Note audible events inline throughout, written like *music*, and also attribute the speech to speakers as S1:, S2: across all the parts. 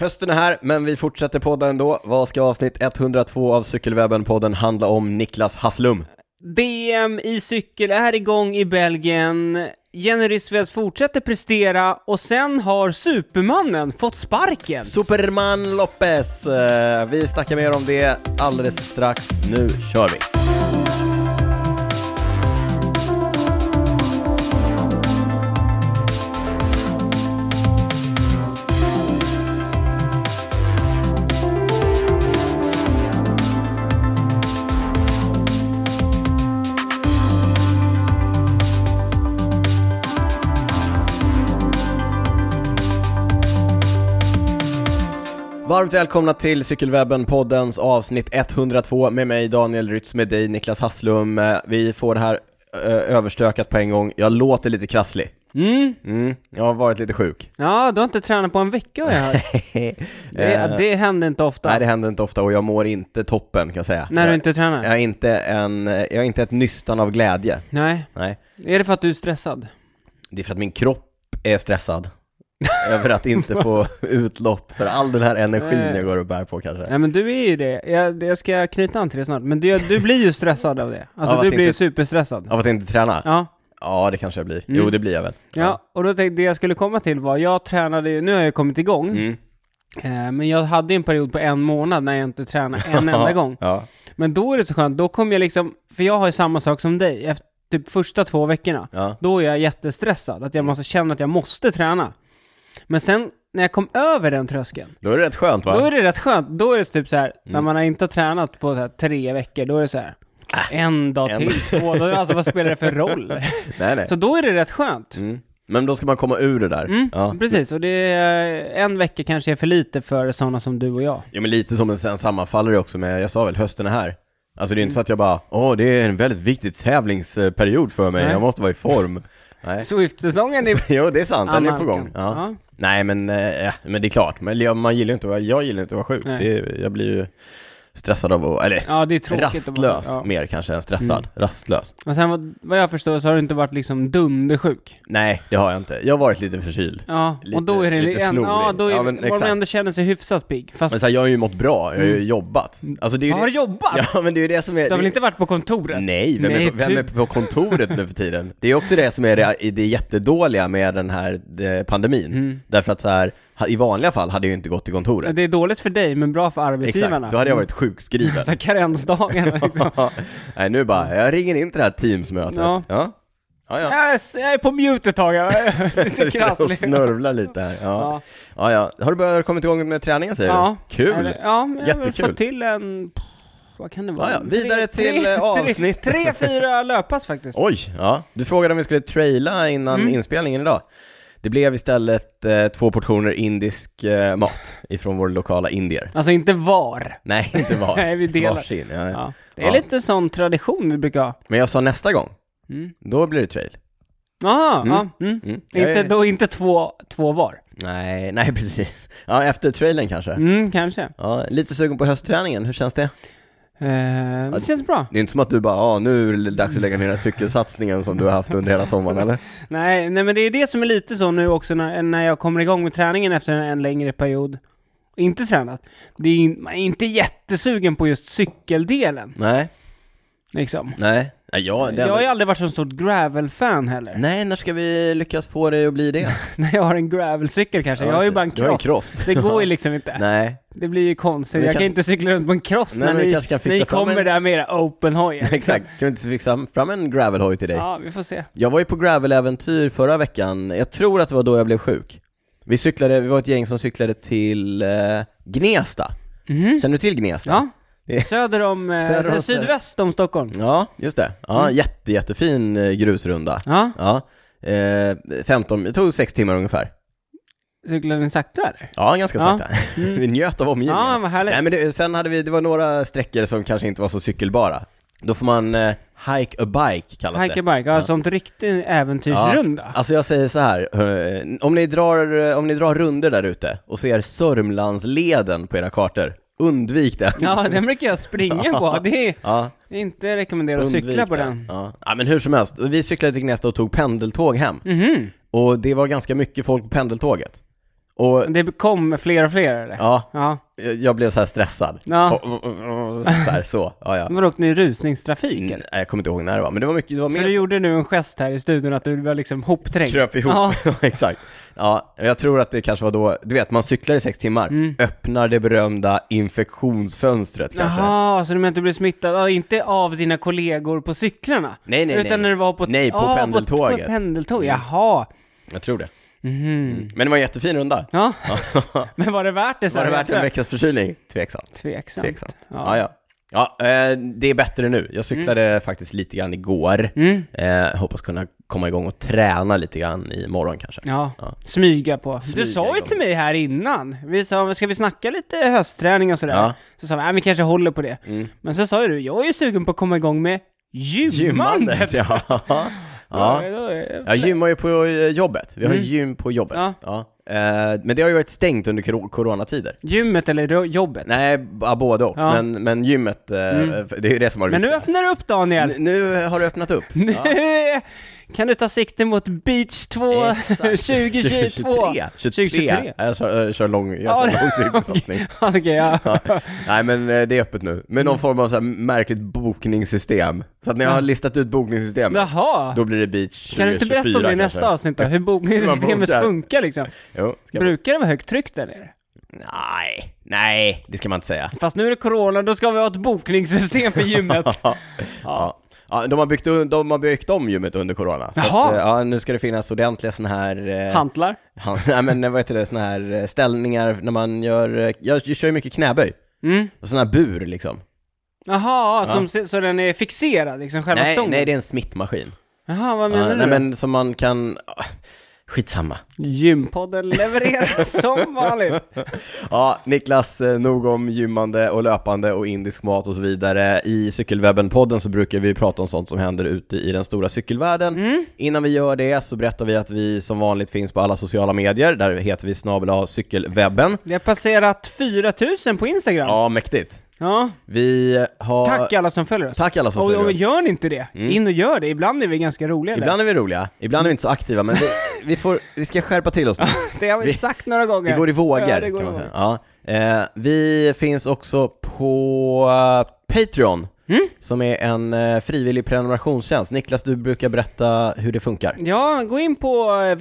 S1: Hösten är här, men vi fortsätter podda ändå. Vad ska avsnitt 102 av Cykelwebben-podden handla om Niklas Hasslum?
S2: DM i cykel är igång i Belgien. Jenny Rysved fortsätter prestera och sen har Supermannen fått sparken.
S1: Superman Lopez! Eh, Vi snackar mer om det alldeles strax. Nu kör vi! Varmt välkomna till Cykelwebben-poddens avsnitt 102 med mig Daniel Rytz, med dig Niklas Hasslum. Eh, Vi får det här eh, överstökat på en gång. Jag låter lite krasslig.
S2: Mm.
S1: Mm, jag har varit lite
S2: *laughs*
S1: sjuk.
S2: Ja, du har inte tränat på en vecka har jag
S1: *laughs*
S2: hört. Det, det händer inte ofta.
S1: Eh. Nej, det händer inte ofta och jag mår inte toppen kan jag säga.
S2: När du
S1: jag,
S2: inte tränar?
S1: jag är inte en, jag är inte ett nystan av glädje.
S2: Nej.
S1: Nej,
S2: Är det för att du är stressad?
S1: det är för att min kropp är
S2: *laughs*
S1: stressad över att inte få utlopp för all den här energin
S2: Nej.
S1: jag går och bär på kanske.
S2: Nej men du är ju det. Jag, jag ska knyta an till det snart. Men du, du blir ju stressad av det. Alltså
S1: Av att
S2: du blir ju
S1: inte-
S2: superstressad.
S1: Av att inte träna? Ja,
S2: Ja.
S1: det kanske jag blir.
S2: Mm.
S1: Jo, det blir jag väl.
S2: Ja, och då tänkte det jag skulle komma till var, jag tränade ju, nu har jag kommit igång,
S1: Mm.
S2: eh, men jag hade ju en period på en månad när jag inte tränade
S1: *laughs*
S2: en enda gång.
S1: Ja.
S2: Men då är det så skönt, då kom jag liksom, för jag har ju samma sak som dig, efter typ första två veckorna,
S1: Ja.
S2: då är jag jättestressad, att jag måste känna att jag måste träna. Men sen, när jag kom över den tröskeln,
S1: Då är det rätt skönt va?
S2: då är det rätt skönt, då är det typ så här, när
S1: Mm.
S2: man har inte har tränat på så här, tre veckor, då är det så här, en dag
S1: Äh. en-
S2: till, två dagar, alltså vad spelar det för roll?
S1: *laughs* Nej, nej.
S2: Så då är det rätt skönt.
S1: Mm. Men då ska man komma ur det där.
S2: Mm,
S1: Ja.
S2: precis. Och det är, en vecka kanske är för lite för sådana som du och jag.
S1: Jo men lite som en sen sammanfaller det också med, jag sa väl, hösten är här. Alltså det är inte så att jag bara, åh det är en väldigt viktig tävlingsperiod för mig,
S2: Nej.
S1: jag måste vara i
S2: *laughs*
S1: form. Nej.
S2: Swift-säsongen är...
S1: *laughs* Jo det är sant, den är på
S2: Annan
S1: gång.
S2: gång.
S1: Ja.
S2: Ja.
S1: Nej men, eh, ja, men det är klart, men jag, man gillar ju inte att vara, jag gillar inte att vara sjuk.
S2: Nej.
S1: Det, är- jag blir ju stressad av att, eller
S2: Ja, det är tråkigt att vara-
S1: rastlös
S2: Ja. Mm.
S1: mer kanske än stressad. Rastlös.
S2: Och sen vad, vad jag förstår så har du inte varit liksom dundersjuk.
S1: Nej, det har jag inte. Jag har varit lite förkyld.
S2: Ja,
S1: Lite-
S2: och då är det
S1: lite
S2: en, Ja,
S1: snorig.
S2: då är,
S1: Ja,
S2: ja,
S1: men
S2: men,
S1: exakt.
S2: man ändå känner sig hyfsat pigg. Fast
S1: Men så här, jag har ju mått bra, jag har ju jobbat. Alltså det är ju
S2: Mm. har
S1: det,
S2: du jobbat?
S1: *laughs* Ja men det är ju det som är...
S2: Du har väl
S1: det-
S2: inte varit på kontoret?
S1: Nej, vem, är,
S2: Nej,
S1: på- vem
S2: typ.
S1: är på kontoret nu för tiden? Det är också det som är det, det jättedåliga med den här eh, pandemin. Därför att så här, ha- i vanliga fall hade jag ju inte gått till kontoret.
S2: Mm. Det är dåligt för dig, men bra för arbetsgivarna. Mm.
S1: Exakt, då hade jag varit sjukskriven.
S2: *laughs* Så
S1: *laughs*
S2: här karensdagarna liksom.
S1: Nej, nu bara, jag ringer in till det här Teams-mötet. Ja.
S2: Ja.
S1: Ja. Ja,
S2: jag, är- jag är på mute ett tag, *laughs* jag
S1: *laughs*
S2: är lite
S1: Och
S2: krasslig.
S1: snörvlar lite här. Ja. Ja. ja, Har du börjat kommit igång med träningen säger
S2: Ja.
S1: du? Kul!
S2: Eller- Ja, men jag har väl
S1: Jättekul.
S2: fått till en... Vad kan det vara?
S1: Ja, ja. Vidare till, eh, avsnitt.
S2: Tre,
S1: *laughs*
S2: tre, fyra löppass faktiskt.
S1: Oj, ja. Du frågade om vi skulle traila innan
S2: Mm.
S1: inspelningen idag. Det blev istället eh, två portioner indisk eh, mat ifrån vår lokala indier.
S2: Alltså inte var. *laughs*
S1: Nej, inte var.
S2: Nej, vi delar.
S1: Varsin, ja.
S2: Ja. Det är
S1: Ja.
S2: lite sån tradition vi brukar ha.
S1: Men jag sa nästa gång,
S2: Mm.
S1: då blir det trail.
S2: Aha, ja. Mm.
S1: Mm. Jag
S2: Inte,
S1: är-
S2: då inte två, två var.
S1: Nej, nej precis. Ja, efter trailen kanske.
S2: Mm, kanske.
S1: Ja, lite sugen på höstträningen, hur känns det?
S2: Eh, men det känns bra.
S1: Det är inte som att du bara, ja nu är det dags att lägga ner den här cykelsatsningen som du har haft under hela sommaren eller?
S2: Nej, nej, men det är det som är lite så nu också när, när jag kommer igång med träningen efter en, en längre period. och Inte tränat. Det är, in- man är inte jättesugen på just cykeldelen,
S1: Nej,
S2: liksom.
S1: nej. Nej, ja, det
S2: Jag har ju
S1: enda...
S2: aldrig varit så stort gravel-fan heller. *laughs*
S1: Nej, när ska vi lyckas få dig att bli det?
S2: när jag har en gravelcykel kanske.
S1: Ja,
S2: jag har ju
S1: just
S2: bara en
S1: det. Du har en
S2: cross.
S1: cross.
S2: Det går ju liksom inte.
S1: *laughs* nej,
S2: Det blir ju konstigt.
S1: Men vi
S2: jag
S1: kanske-
S2: kan inte cykla runt på en cross
S1: Nej, men
S2: när
S1: vi
S2: ni,
S1: kanske kan fixa
S2: ni
S1: fram
S2: kommer
S1: en-
S2: där med era open
S1: *laughs*
S2: hojar.
S1: exakt. Kan vi inte fixa fram en gravelhoj till dig?
S2: Ja, vi får se.
S1: Jag var ju på graveläventyr förra veckan, jag tror att det var då jag blev sjuk. Vi cyklade, vi var ett gäng som cyklade till eh, Gnesta. Känner du till Gnesta?
S2: Mhm. Ja.
S1: Det-
S2: Söder om... Eh,
S1: Söder om-
S2: sydväst om Stockholm.
S1: Ja, just det. Ja, jätte, jättefin eh, grusrunda.
S2: Mm. Ja.
S1: Ja. Eh, 15, det tog sex timmar ungefär.
S2: Cyklade ni sakta eller?
S1: Ja, ganska
S2: Ja. Mm.
S1: sakta. *laughs* vi njöt av omgivningen.
S2: Ja, vad härligt.
S1: Nej, men det, sen hade vi, det var några sträckor som kanske inte var så cykelbara. Då får man eh, hike a bike kallas det.
S2: Hike a bike, ja, sånt riktigt äventyrsrunda.
S1: Alltså jag säger så här, eh, om ni drar, eh, om ni drar runder där ute och ser Sörmlandsleden på era kartor, undvik den.
S2: Ja, den brukar jag springa på. Det är
S1: *laughs* Ja,
S2: det är inte rekommenderat att
S1: undvik
S2: cykla på den.
S1: Ja. ja, men hur som helst, vi
S2: Mhm.
S1: cyklade till Gnesta och tog pendeltåg hem. Och det var ganska mycket folk på pendeltåget. Och
S2: Det kommer fler och fler eller?
S1: ja,
S2: Ja.
S1: jag blev så här stressad.
S2: Ja.
S1: Så här, så. Ja, ja.
S2: Men Vadå, åkte ni i rusningstrafik eller?
S1: Nej, jag kommer inte ihåg när det var, men det var mycket, det var
S2: För du
S1: mer
S2: gjorde nu en gest här i studion att du var liksom hopträngd.
S1: kröp ihop.
S2: Ja.
S1: *laughs* Ja. Exakt. Ja, jag tror att det kanske var då, du vet, man cyklar i sex timmar, öppnar det berömda infektionsfönstret kanske.
S2: Mm. Jaha, så du menar att du blev smittad? Ja, inte av dina kollegor på cyklarna?
S1: Nej, nej,
S2: Utan
S1: nej.
S2: när du var på...
S1: Nej, på
S2: Ja, På,
S1: pendeltåget. Mm.
S2: på pendeltåg, jaha.
S1: Jag tror det. Mm.
S2: Mhm.
S1: Men det var en jättefin runda.
S2: Ja, *laughs* men var det värt det? så
S1: var det
S2: här?
S1: värt en veckas förkylning? Tveksamt.
S2: Tveksamt.
S1: Tveksamt. Ja,
S2: Ja.
S1: ja. ja eh, det är bättre nu. Jag cyklade faktiskt lite grann igår.
S2: Mm.
S1: Eh, hoppas kunna komma igång och träna lite grann imorgon kanske.
S2: Ja.
S1: Ja.
S2: smyga på.
S1: Smyga
S2: du sa ju
S1: igång.
S2: till mig här innan, vi sa, ska vi snacka lite höstträning och sådär?
S1: Ja.
S2: Så sa vi, nej vi kanske håller på det.
S1: Mm.
S2: Men så sa ju du, jag är ju sugen på att komma igång med
S1: *laughs*
S2: gymmandet.
S1: Ja. ja. Jag gymmar ju på eh, jobbet. Vi har gym på jobbet. Ja.
S2: Mm. Ja.
S1: Eh, Men det har ju varit stängt under kor- coronatider.
S2: Gymmet eller ro- jobbet?
S1: Nej, b- ah, både och.
S2: Ja. Mm.
S1: Men, men gymmet, eh, det är ju det som har
S2: Men nu öppnar du upp Daniel!
S1: N- nu har det öppnat upp. *laughs*
S2: Nu *laughs* kan du ta sikte mot Beach 2 *laughs* 2022!
S1: 23. 23.
S2: 2023.
S1: Ja, Jag kör, jag kör lång,
S2: Ja,
S1: jag kör lång
S2: *laughs*
S1: cykelsatsning.
S2: Ja, Okej, ja.
S1: Ja. Nej men eh, det är öppet nu. Med någon form av så här märkligt bokningssystem. Så att när jag har listat ut bokningssystemet,
S2: Jaha!
S1: då blir det beach 2024
S2: Kan du inte berätta om det i
S1: kanske.
S2: nästa avsnitt då? Hur bokningssystemet
S1: bokar.
S2: funkar liksom?
S1: Jo, ska jag...
S2: Brukar det vara högt tryck eller?
S1: Nej, nej, det ska man inte säga.
S2: Fast nu är det corona, då ska vi ha ett bokningssystem
S1: *laughs*
S2: för gymmet.
S1: Ja. Ja. Ja, de, har byggt, de har byggt om gymmet under corona. Så
S2: Jaha.
S1: eh, ja, nu ska det finnas ordentliga sådana här... eh,
S2: Hantlar.
S1: han- *laughs* nej, men vad heter det? Såna här eh, ställningar när man gör... eh, Jag, jag kör ju mycket knäböj.
S2: Mm.
S1: Och såna här bur liksom.
S2: Jaha,
S1: Ja.
S2: som, se- så den är fixerad liksom, själva
S1: Nej,
S2: stången?
S1: nej, det är en smittmaskin.
S2: Jaha, vad menar
S1: Ja,
S2: du?
S1: nej,
S2: då?
S1: men som man kan... ah, Skitsamma. *laughs*
S2: Gympodden levererar som vanligt.
S1: Ja, Niklas, eh, nog om gymmande och löpande och indisk mat och så vidare. I Cykelwebben-podden så brukar vi prata om sånt som händer ute i den stora cykelvärlden.
S2: Mm.
S1: Innan vi gör det så berättar vi att vi som vanligt finns på alla sociala medier. Där heter vi snabel A cykelwebben.
S2: Vi har passerat 4000 på Instagram. Ja.
S1: Ja, mäktigt. Vi har...
S2: Tack alla som följer oss.
S1: Tack alla som följer
S2: och, och
S1: oss.
S2: gör ni inte det, in och gör det. Ibland är vi ganska roliga
S1: Mm. Ibland är vi roliga, ibland är vi inte så aktiva, men vi,
S2: *laughs*
S1: vi, får, vi ska skärpa till oss nu.
S2: där. *laughs* Det har vi,
S1: vi-
S2: sagt några gånger.
S1: Det går i vågor,
S2: Ja, det går
S1: kan
S2: i
S1: man säga.
S2: vågor.
S1: Ja. Eh, vi finns också på eh, Patreon,
S2: Mm.
S1: som är en eh, frivillig prenumerationstjänst. Niklas, du brukar berätta hur det funkar.
S2: Ja, gå in på eh,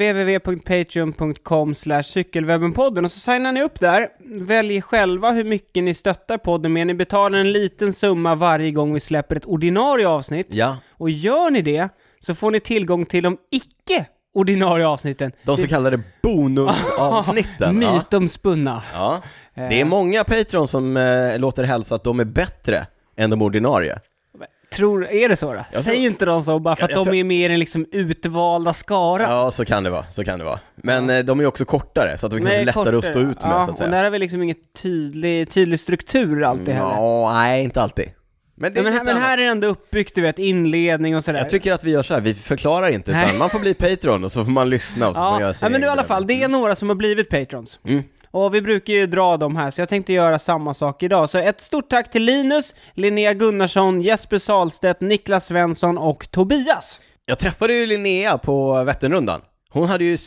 S2: www.patreon.com cykelwebbenpodden och så signar ni upp där. Välj själva hur mycket ni stöttar podden med. Ni betalar en liten summa varje gång vi släpper ett ordinarie avsnitt.
S1: Ja,
S2: Och gör ni det så får ni tillgång till de icke ordinarie avsnitten.
S1: de så kallade
S2: *laughs*
S1: bonusavsnitten. ja.
S2: Mytomspunna.
S1: Ja.
S2: Eh.
S1: Det är många Patreon som eh, låter hälsa att de är bättre än de ordinarie.
S2: Tror, är det så då? Säg
S1: tror-
S2: inte de så bara för
S1: Jag-
S2: att
S1: jag
S2: de
S1: tror-
S2: är mer i den liksom utvalda skara.
S1: Ja, så kan det vara. Så kan det vara. Men eh, de är också kortare, så att de kanske är
S2: Nej,
S1: lättare att stå
S2: kortare.
S1: ut med,
S2: ja,
S1: så att
S2: och
S1: säga. Mm,
S2: där har vi liksom ingen tydlig, tydlig struktur alltid heller.
S1: Ja, nej, inte alltid. Men, det är
S2: Nej, men, här,
S1: lite
S2: men
S1: annat.
S2: här är det ändå uppbyggt, du vet, inledning och sådär.
S1: Jag tycker att vi gör så här, vi förklarar inte utan
S2: Nej.
S1: man får bli Patreon och så får man lyssna och så får man göra
S2: ja,
S1: sin
S2: ja, men nu i
S1: egen
S2: alla fall, det är
S1: Mm.
S2: några som har blivit patrons. Och vi brukar ju dra dem här, så jag tänkte göra samma sak idag. Så ett stort tack till Linus, Linnea Gunnarsson, Jesper Salstedt, Niklas Svensson och Tobias.
S1: Jag träffade ju Linnea på Vätternrundan. Hon hade ju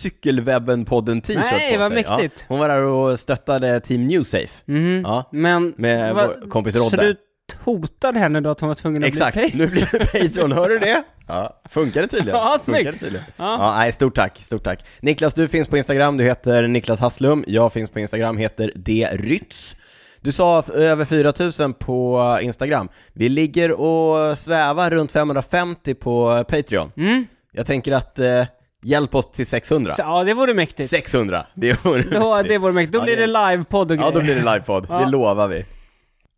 S1: Cykelwebben-podden t-shirt på
S2: Nej,
S1: sig.
S2: vad
S1: Ja,
S2: mäktigt. Mhm.
S1: hon var där och stöttade Team Newsafe. Ja,
S2: Men...
S1: med
S2: vad-
S1: vår kompis
S2: Så
S1: Rodde.
S2: du hotade henne då att hon var tvungen att
S1: Exakt,
S2: bli
S1: *laughs*
S2: patron?
S1: nu blir du Patreon, hör du det? Ja, funkar det tydligen.
S2: Ja, snyggt.
S1: Funkar det tydligen. *laughs* Ja.
S2: Ja.
S1: nej, stort tack, stort tack. Niklas, du finns på Instagram, du heter Niklas Hasslum. Jag finns på Instagram, heter drytz. Du sa f- över 4000 på Instagram. Vi ligger och svävar runt 550 på Patreon. Jag tänker att, eh, hjälp oss till 600.
S2: Så, ja, det vore mäktigt.
S1: 600, det vore
S2: Då,
S1: mäktigt.
S2: det vore mäktigt. Då
S1: Ja,
S2: blir
S1: det-
S2: det livepodd och
S1: Ja,
S2: grejer.
S1: då blir det livepodd. Det lovar vi.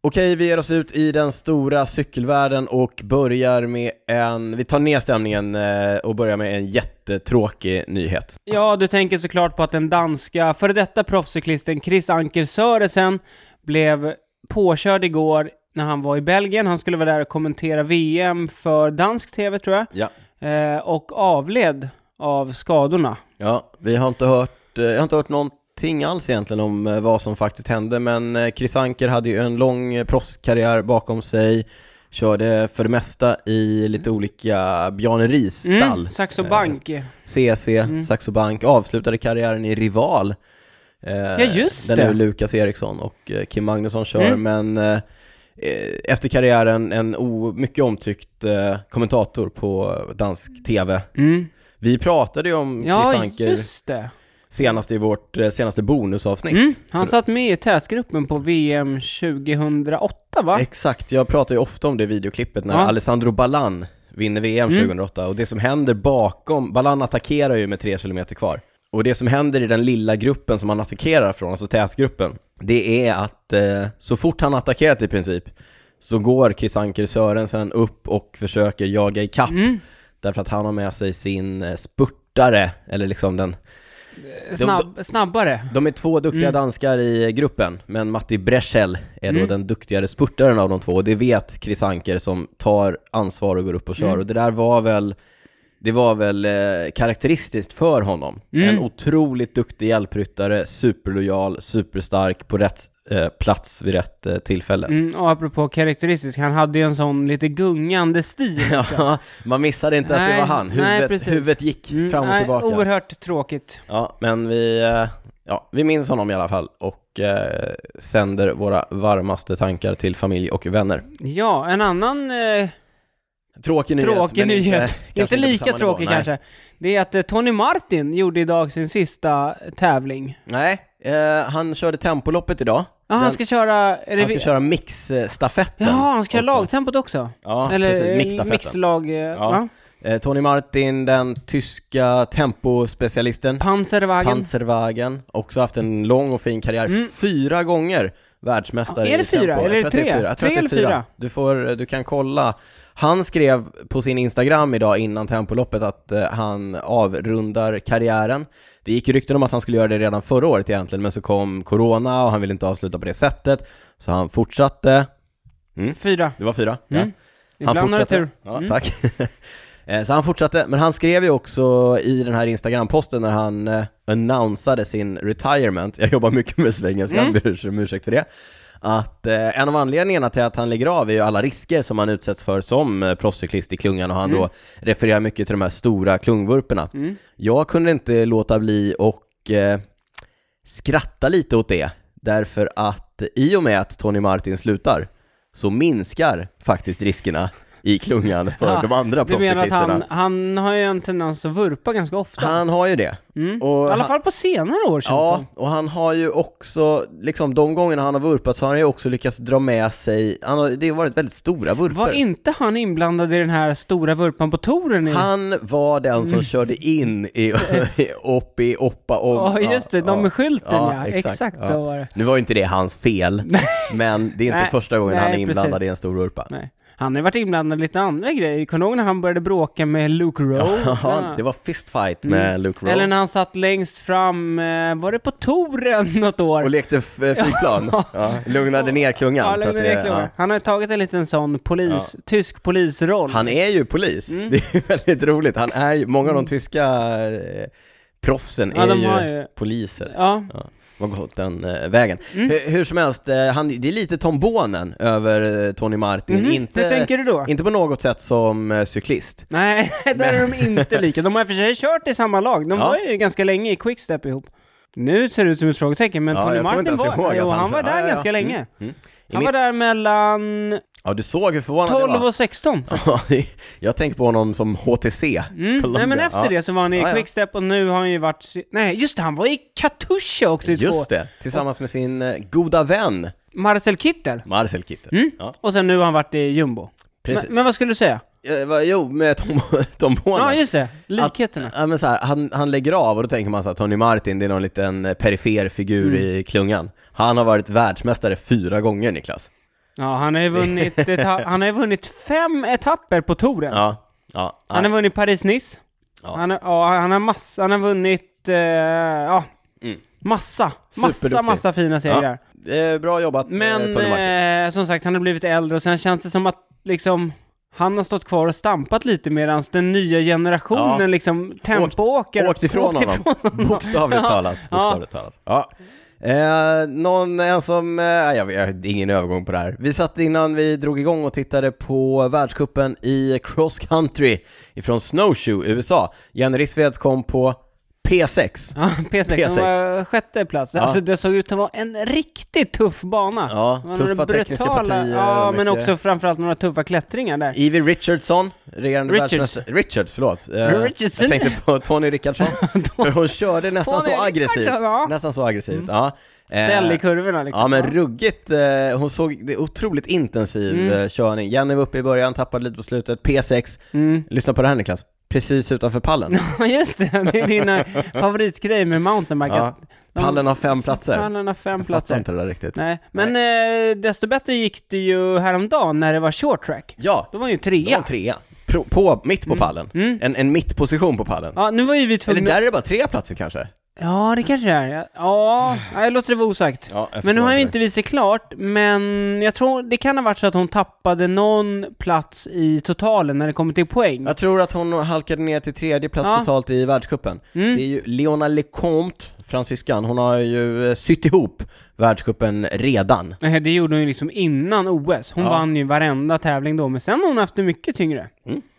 S1: Okej, vi ger oss ut i den stora cykelvärlden och börjar med en... Vi tar ner stämningen eh, och börjar med en jättetråkig nyhet.
S2: Ja, du tänker såklart på att den danska före detta proffscyklisten Chris Anker Sørensen blev påkörd igår när han var i Belgien. Han skulle vara där och kommentera VM för dansk TV tror jag.
S1: Ja.
S2: Eh, och avled av skadorna.
S1: Ja, vi har inte hört... eh, Jag har inte hört någonting alls egentligen om eh, vad som faktiskt hände, men eh, Chris Anker hade ju en lång eh, proffskarriär bakom sig. Körde för det mesta i lite olika Bjarne
S2: Mm.
S1: Riis-stall. Eh,
S2: Saxo Bank. Mm.
S1: CC, Saxo Bank, avslutade karriären i Rival Eh,
S2: Ja, just
S1: där
S2: det.
S1: nu Lukas Eriksson och eh, Kim Magnusson kör,
S2: Mm.
S1: men eh, eh, efter karriären en o, mycket omtyckt eh, kommentator på dansk TV.
S2: Mm.
S1: Vi pratade ju om Chris
S2: Ja,
S1: Anker
S2: just det.
S1: senast i vårt eh, senaste bonusavsnitt.
S2: Mm. Han satt med i tätgruppen på VM 2008, va?
S1: Exakt, jag pratar ju ofta om det videoklippet när
S2: Ja. Mm.
S1: Alessandro Ballan vinner VM 2008 och det som händer bakom, Ballan attackerar ju med tre kilometer kvar. Och det som händer i den lilla gruppen som han attackerar från, alltså tätgruppen, det är att eh, så fort han attackerat i princip så går Chris Anker Sörensen upp och försöker jaga ikapp
S2: Mm.
S1: därför att han har med sig sin eh, spurtare, eller liksom den
S2: Snabb, snabbare.
S1: de är två
S2: Mm.
S1: duktiga danskar i gruppen, men Matti Breschel är då den duktigare spurtaren av de två och det vet Chris Anker som tar ansvar och går upp och kör
S2: Mm.
S1: och det där var väl det var väl eh, karaktäristiskt för honom.
S2: Mm.
S1: En otroligt duktig hjälpryttare, superlojal, superstark, på rätt eh, plats vid rätt eh, tillfälle.
S2: Mm, och apropå karaktäristisk, han hade ju en sån lite gungande stil.
S1: *laughs* Ja, man missade inte att det
S2: Nej,
S1: var han.
S2: nej,
S1: Huvudet,
S2: precis.
S1: huvudet gick
S2: Mm,
S1: fram och
S2: nej,
S1: tillbaka.
S2: Oerhört tråkigt.
S1: Ja, men vi, eh, ja, vi minns honom i alla fall och eh, sänder våra varmaste tankar till familj och vänner.
S2: Ja, en annan eh,
S1: Tråkig nyhet.
S2: tråkig
S1: men
S2: nyhet. Inte,
S1: kanske på
S2: lika
S1: samma nivå,
S2: tråkig
S1: nej.
S2: kanske. Det är att eh, Tony Martin gjorde idag sin sista eh, tävling.
S1: Nej, eh, han körde tempoloppet idag.
S2: Ja, han ska köra... Är det
S1: Han
S2: vi-
S1: ska köra mixstafetten.
S2: Jaha, han ska köra
S1: också.
S2: lagtempot också?
S1: Ja,
S2: Eller
S1: precis.
S2: eh,
S1: Mixstafetten.
S2: mixlag... eh, Va?
S1: Eh, Tony Martin, den tyska tempospecialisten.
S2: Panzerwagen.
S1: Panzerwagen. Också haft en lång och fin karriär. Fyra gånger världsmästare
S2: Mm. Ja, är det
S1: i tempo.
S2: fyra
S1: Jag
S2: eller
S1: tror att det är
S2: tre?
S1: fyra. Jag tror
S2: Tre
S1: att det är
S2: eller fyra?
S1: Du, får, du kan kolla. Han skrev på sin Instagram idag innan tempoloppet att eh, han avrundar karriären. Det gick ju rykten om att han skulle göra det redan förra året egentligen, men så kom corona och han ville inte avsluta på det sättet. Så han fortsatte.
S2: Fyra.
S1: Det var fyra?
S2: Mm.
S1: Ja.
S2: Ibland har du tur. Mm.
S1: Ja, tack. *laughs* Eh, Så han fortsatte, men han skrev ju också i den här Instagram-posten när han eh, annonsade sin retirement, jag jobbar mycket med svengelska, mm. ber om ursäkt för det, att eh, en av anledningarna till att han lägger av är ju alla risker som han utsätts för som eh, proffscyklist i klungan och han
S2: Mm.
S1: då refererar mycket till de här stora klungvurporna. Jag kunde inte låta bli och eh, skratta lite åt det, därför att i och med att Tony Martin slutar så minskar faktiskt riskerna i klungan för
S2: Ja,
S1: de andra
S2: Du menar att
S1: proffscyklisterna.
S2: han, han har ju en tendens att vurpa ganska ofta?
S1: Han har ju det. Och
S2: Mm, I alla
S1: han-
S2: fall på senare år känns det
S1: Ja,
S2: som.
S1: och han har ju också, liksom de gångerna han har vurpat så har han ju också lyckats dra med sig, han har, det har varit väldigt stora
S2: Var
S1: vurpor.
S2: inte han inblandad i den här stora vurpan på touren? i-
S1: Han var den
S2: Mm.
S1: som körde in i, *laughs* i upp i Oppa om.
S2: Ja, just det. De med skylten, ja. Exakt så var det.
S1: Nu var ju inte det hans fel, men det är inte
S2: Nej,
S1: första gången han är
S2: nej,
S1: inblandad
S2: precis.
S1: i en stor vurpa.
S2: Nej. Han har ju varit inblandad i lite andra grejer. Kommer du ihåg när han började bråka med Luke Rowe?
S1: *laughs* Ja, det var fistfight med Luke Rowe.
S2: Oh, Mm. Eller när han satt längst fram, eh, var det på touren *laughs* något år?
S1: Och lekte f- eh,
S2: *laughs*
S1: flygplan. ja, lugnade ner klungan. för
S2: Ja,
S1: att
S2: lämna
S1: det-
S2: det klart.
S1: ja.
S2: Han har ju tagit en liten sån polis, tysk polisroll.
S1: Han är ju polis.
S2: Mm.
S1: Det är ju *laughs* väldigt roligt. Han är ju, många av de tyska eh, proffsen
S2: Ja,
S1: är
S2: de
S1: ju,
S2: har ju-
S1: poliser.
S2: Ja. Mm.
S1: Ja, de har gått den eh, vägen. Hur, hur som helst, eh, han, det är lite Tom Bonen över eh, Tony Martin. inte,
S2: Mm-hmm. hur tänker du då?
S1: inte på något sätt som eh, cyklist.
S2: Nej, *laughs* där är de inte lika. De har i och för sig kört i samma lag. De
S1: Ja.
S2: var ju ganska länge i Quickstep ihop. Nu ser det ut som ett frågetecken, men
S1: Ja,
S2: Tony
S1: jag kommer inte
S2: Martin
S1: ens
S2: var,
S1: ihåg att
S2: jo,
S1: han-
S2: han var
S1: Ja,
S2: där
S1: ja, ja.
S2: ganska
S1: Mm,
S2: länge.
S1: I
S2: Han
S1: mitt-
S2: var där mellan
S1: Ja, du såg hur förvånad
S2: 12
S1: jag var.
S2: och 16.
S1: *laughs* Ja, jag tänker på honom som HTC.
S2: Mm. Nej men
S1: Colombia.
S2: efter
S1: Ja.
S2: det så var han i
S1: Ja, ja.
S2: Quickstep och nu har han ju varit... si- Nej just det, han var i Katusha också i två.
S1: Just det, tillsammans med sin eh, goda vän
S2: Marcel Kittel.
S1: Marcel Kittel. Ja.
S2: Och sen nu har han varit i jumbo.
S1: Precis.
S2: Men, men vad skulle du säga?
S1: Eh, vad- Jo, med Tom, *laughs* Tom Bonen.
S2: Ja just det, likheterna.
S1: Att, ja, men så här, han, han lägger av och då tänker man så här, Tony Martin, det är någon liten eh, perifer figur i klungan. Han har varit världsmästare fyra gånger, Niklas.
S2: Ja, han har ju
S1: *laughs*
S2: vunnit, eta- han har ju vunnit fem etapper på touren.
S1: Ja, ja.
S2: Han har
S1: nej.
S2: vunnit Paris-Nice.
S1: Ja.
S2: Han, har- ja, han har massa, han har vunnit, eh, ja, massa, massa,
S1: Mm. Superduktig.
S2: massa fina segrar.
S1: ja. eh, Bra jobbat, eh,
S2: Men
S1: Tony Martin.
S2: eh, som sagt, han har blivit äldre och sen känns det som att liksom han har stått kvar och stampat lite medan den nya generationen
S1: Ja.
S2: liksom tempoåker.
S1: Åkt ifrån honom, bokstavligt talat. Bokstavligt talat. Ja. Eh, någon, en som, eh, jag vet, ingen övergång på det här. Vi satt innan vi drog igång och tittade på världskuppen i cross country ifrån Snowshoe, USA. Jenny Rissveds kom på P6.
S2: *laughs* Ja, P6,
S1: P6.
S2: de var sjätte plats. Alltså det såg ut att vara en riktigt tuff bana.
S1: Ja,
S2: Det var
S1: tuffa
S2: några
S1: tekniska partier
S2: Ja,
S1: och
S2: men
S1: mycket-
S2: också framförallt några tuffa klättringar där.
S1: Evie Richardson, regerande
S2: Richards.
S1: världsmästare... Richards, förlåt. Eh,
S2: Richardson.
S1: Jag tänkte på Tony Rickardsson. för hon körde nästan
S2: Tony
S1: så aggressivt.
S2: Rickardsson, ja.
S1: Nästan så aggressivt, ja. Eh,
S2: Ställ i kurvorna liksom.
S1: Ja men ruggigt, eh, hon såg det är otroligt intensiv
S2: Mm.
S1: eh, körning. Jenny var uppe i början, tappade lite på slutet, P6. Lyssna på det här Niklas, precis utanför pallen.
S2: *laughs* Mm. Ja, just det. Det är dina favoritgrej med mountainbike.
S1: Ja.
S2: att de-
S1: Pallen har fem platser.
S2: Pallen har fem
S1: Fattar
S2: platser.
S1: inte det där riktigt.
S2: Nej, men eh, desto bättre gick det ju häromdagen när det var short track.
S1: Ja,
S2: Då var ju
S1: det var
S2: trea.
S1: en trea. Pro, på, mitt på pallen. En, en mittposition på pallen.
S2: Mm. Ja, nu var ju vi
S1: Eller
S2: tvungna...
S1: där är det bara tre platser kanske?
S2: Ja, det kanske det är. Ja, ja jag låter det vara osagt.
S1: Ja, jag
S2: men nu
S1: förstår
S2: har ju
S1: det.
S2: inte vi sett klart, men jag tror det kan ha varit så att hon tappade någon plats i totalen när det kommer till poäng.
S1: Jag tror att hon halkade ner till tredje plats
S2: Ja. Mm.
S1: totalt i världscupen. Det är ju Leona Lecomte, fransyskan, hon har ju eh, sytt ihop världscupen redan.
S2: Nej, det gjorde hon ju liksom innan OS. Hon
S1: Ja.
S2: vann ju varenda tävling då, men sen har hon haft det mycket tyngre.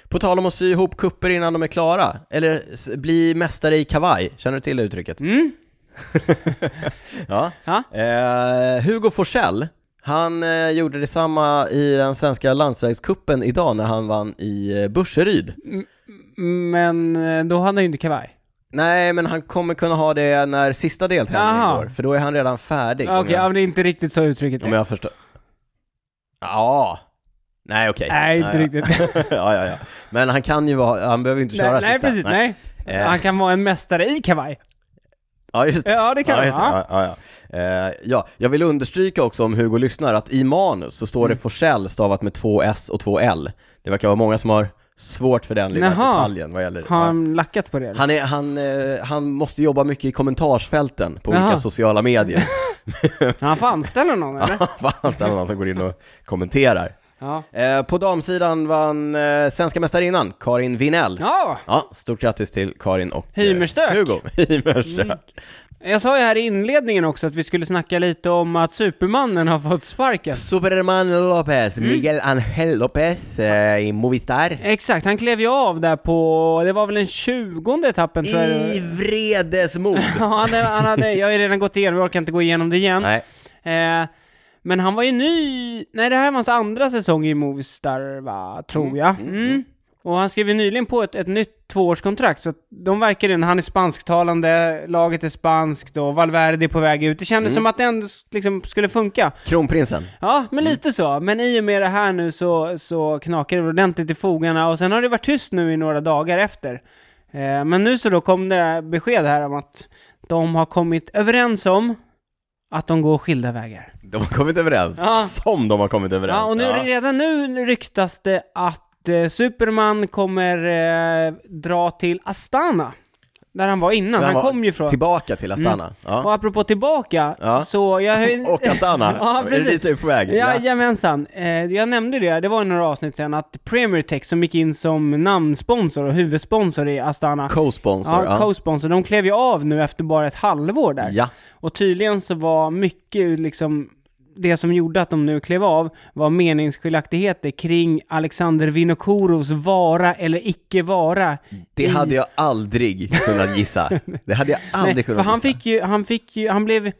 S1: På tal om att sy ihop kupper innan de är klara, eller s- bli mästare i kavaj, känner du till det uttrycket? *laughs* ja.
S2: Mm. Ja.
S1: Eh, Hugo Forsell, han eh, gjorde detsamma i den svenska landsvägskuppen idag när han vann i eh, Burseryd.
S2: Men eh, då hade hon ju inte kavaj.
S1: Nej, men han kommer kunna ha det när sista deltävlingen
S2: Jaha.
S1: går, för då är han redan färdig.
S2: Okej,
S1: om jag-
S2: ja, men det är inte riktigt så uttrycket
S1: Om
S2: är.
S1: jag förstår. Ja. Nej okej.
S2: Nej, inte
S1: ja.
S2: riktigt.
S1: *laughs* ja, ja, ja. Men han kan ju vara, han behöver ju inte köra
S2: nej, nej,
S1: sista.
S2: precis. Nej.
S1: Eh.
S2: Han kan vara en mästare i kavaj. Eh,
S1: Ja, just det.
S2: Ja, det kan
S1: Ja,
S2: han.
S1: just det.
S2: Ja.
S1: ja, ja, ja. Eh, ja, jag vill understryka också om Hugo lyssnar att i manus så står det
S2: Mm.
S1: Forsell stavat med två S och två L. Det verkar vara många som har svårt för den lilla
S2: Jaha.
S1: detaljen vad gäller det.
S2: Har han lackat på det? eller?
S1: Han, är, han, eh, han måste jobba mycket i kommentarsfälten på olika
S2: Jaha.
S1: sociala
S2: *laughs*
S1: medier.
S2: Han får
S1: *laughs*
S2: anställa någon eller?
S1: Vad han ställer någon som går in och kommenterar.
S2: Ja.
S1: Eh, på damsidan vann eh, svenska mästarinnan Karin Vinell. Ja.
S2: Ja,
S1: stort grattis till Karin och eh,
S2: Hymerstök.
S1: Hugo. *laughs* Hymerstök.
S2: Mm. jag sa ju här i inledningen också att vi skulle snacka lite om att Supermannen har fått sparken.
S1: Superman Lopez,
S2: Mm.
S1: Miguel Angel Lopez eh, i Movistar.
S2: Exakt, han klev ju av där på, det var väl den tjugonde etappen tror jag.
S1: I
S2: *laughs*
S1: vredesmod.
S2: Ja, han, han hade, jag har ju redan gått igenom, jag orkar inte gå igenom det igen.
S1: Nej,
S2: Eh, men han var ju ny, nej det här var hans andra säsong i Movistar va, tror jag. Mm. Och han skrev ju nyligen på ett, ett nytt tvåårskontrakt, så att de verkar ju, han är spansktalande, laget är spanskt och Valverde är på väg ut. Det kändes som att det ändå liksom skulle funka.
S1: kronprinsen.
S2: Ja, men lite så. Men i och med det här nu så, så knakar det ordentligt i fogarna och sen har det varit tyst nu i några dagar efter. Eh, men nu så då kom det besked här om att de har kommit överens om att de går skilda vägar.
S1: De har kommit överens.
S2: Ja.
S1: Som de har kommit överens.
S2: Ja, och nu, redan nu ryktas det att eh, Superman kommer eh, dra till Astana, där han var innan.
S1: Där
S2: Han,
S1: var-
S2: kom ju från... Mm.
S1: Tillbaka till Astana. Ja.
S2: Och apropå tillbaka,
S1: Ja.
S2: så
S1: *laughs*
S2: jag...
S1: Och Astana.
S2: ja,
S1: Är det
S2: precis.
S1: dit du är på väg.
S2: Jajamensan. Eh, jag nämnde det, det var i några avsnitt sen, att Premier Tech som gick in som namnsponsor och huvudsponsor i Astana,
S1: Co-sponsor.
S2: ja, co-sponsor, de klev ju av nu efter bara ett halvår där.
S1: ja.
S2: Och tydligen så var mycket ur liksom det som gjorde att de nu klev av var meningsskiljaktigheter kring Alexander Vinokorovs vara eller icke vara.
S1: Det hade jag aldrig kunnat
S2: *laughs*
S1: gissa. Det hade jag aldrig
S2: Mm. Nej,
S1: kunnat
S2: för han
S1: gissa.
S2: fick ju, han fick ju, han blev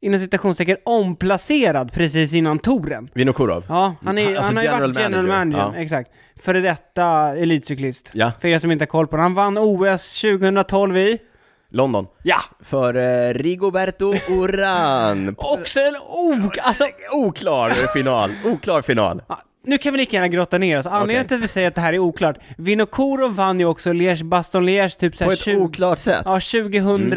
S2: inom citationstecken omplacerad precis innan touren.
S1: Vinokurov.
S2: Ja, han, är,
S1: Alltså
S2: han har ju
S1: general
S2: varit general
S1: manager.
S2: manager,
S1: Ja.
S2: exakt. Före detta elitcyklist.
S1: Ja.
S2: För er som inte har koll på det. Han vann OS 2012 i...
S1: London.
S2: Ja!
S1: För eh, Rigoberto
S2: *laughs*
S1: Uran.
S2: Också en ok... Alltså,
S1: Oklar final. Oklar final.
S2: ja, nu kan vi lika gärna grotta ner oss. Anledningen
S1: Okej.
S2: till att vi säger att det här är oklart. Vinokurov vann ju också Liège-Bastogne-Liège typ
S1: På
S2: såhär
S1: ett
S2: 20...
S1: oklart sätt.
S2: Ja, 2000...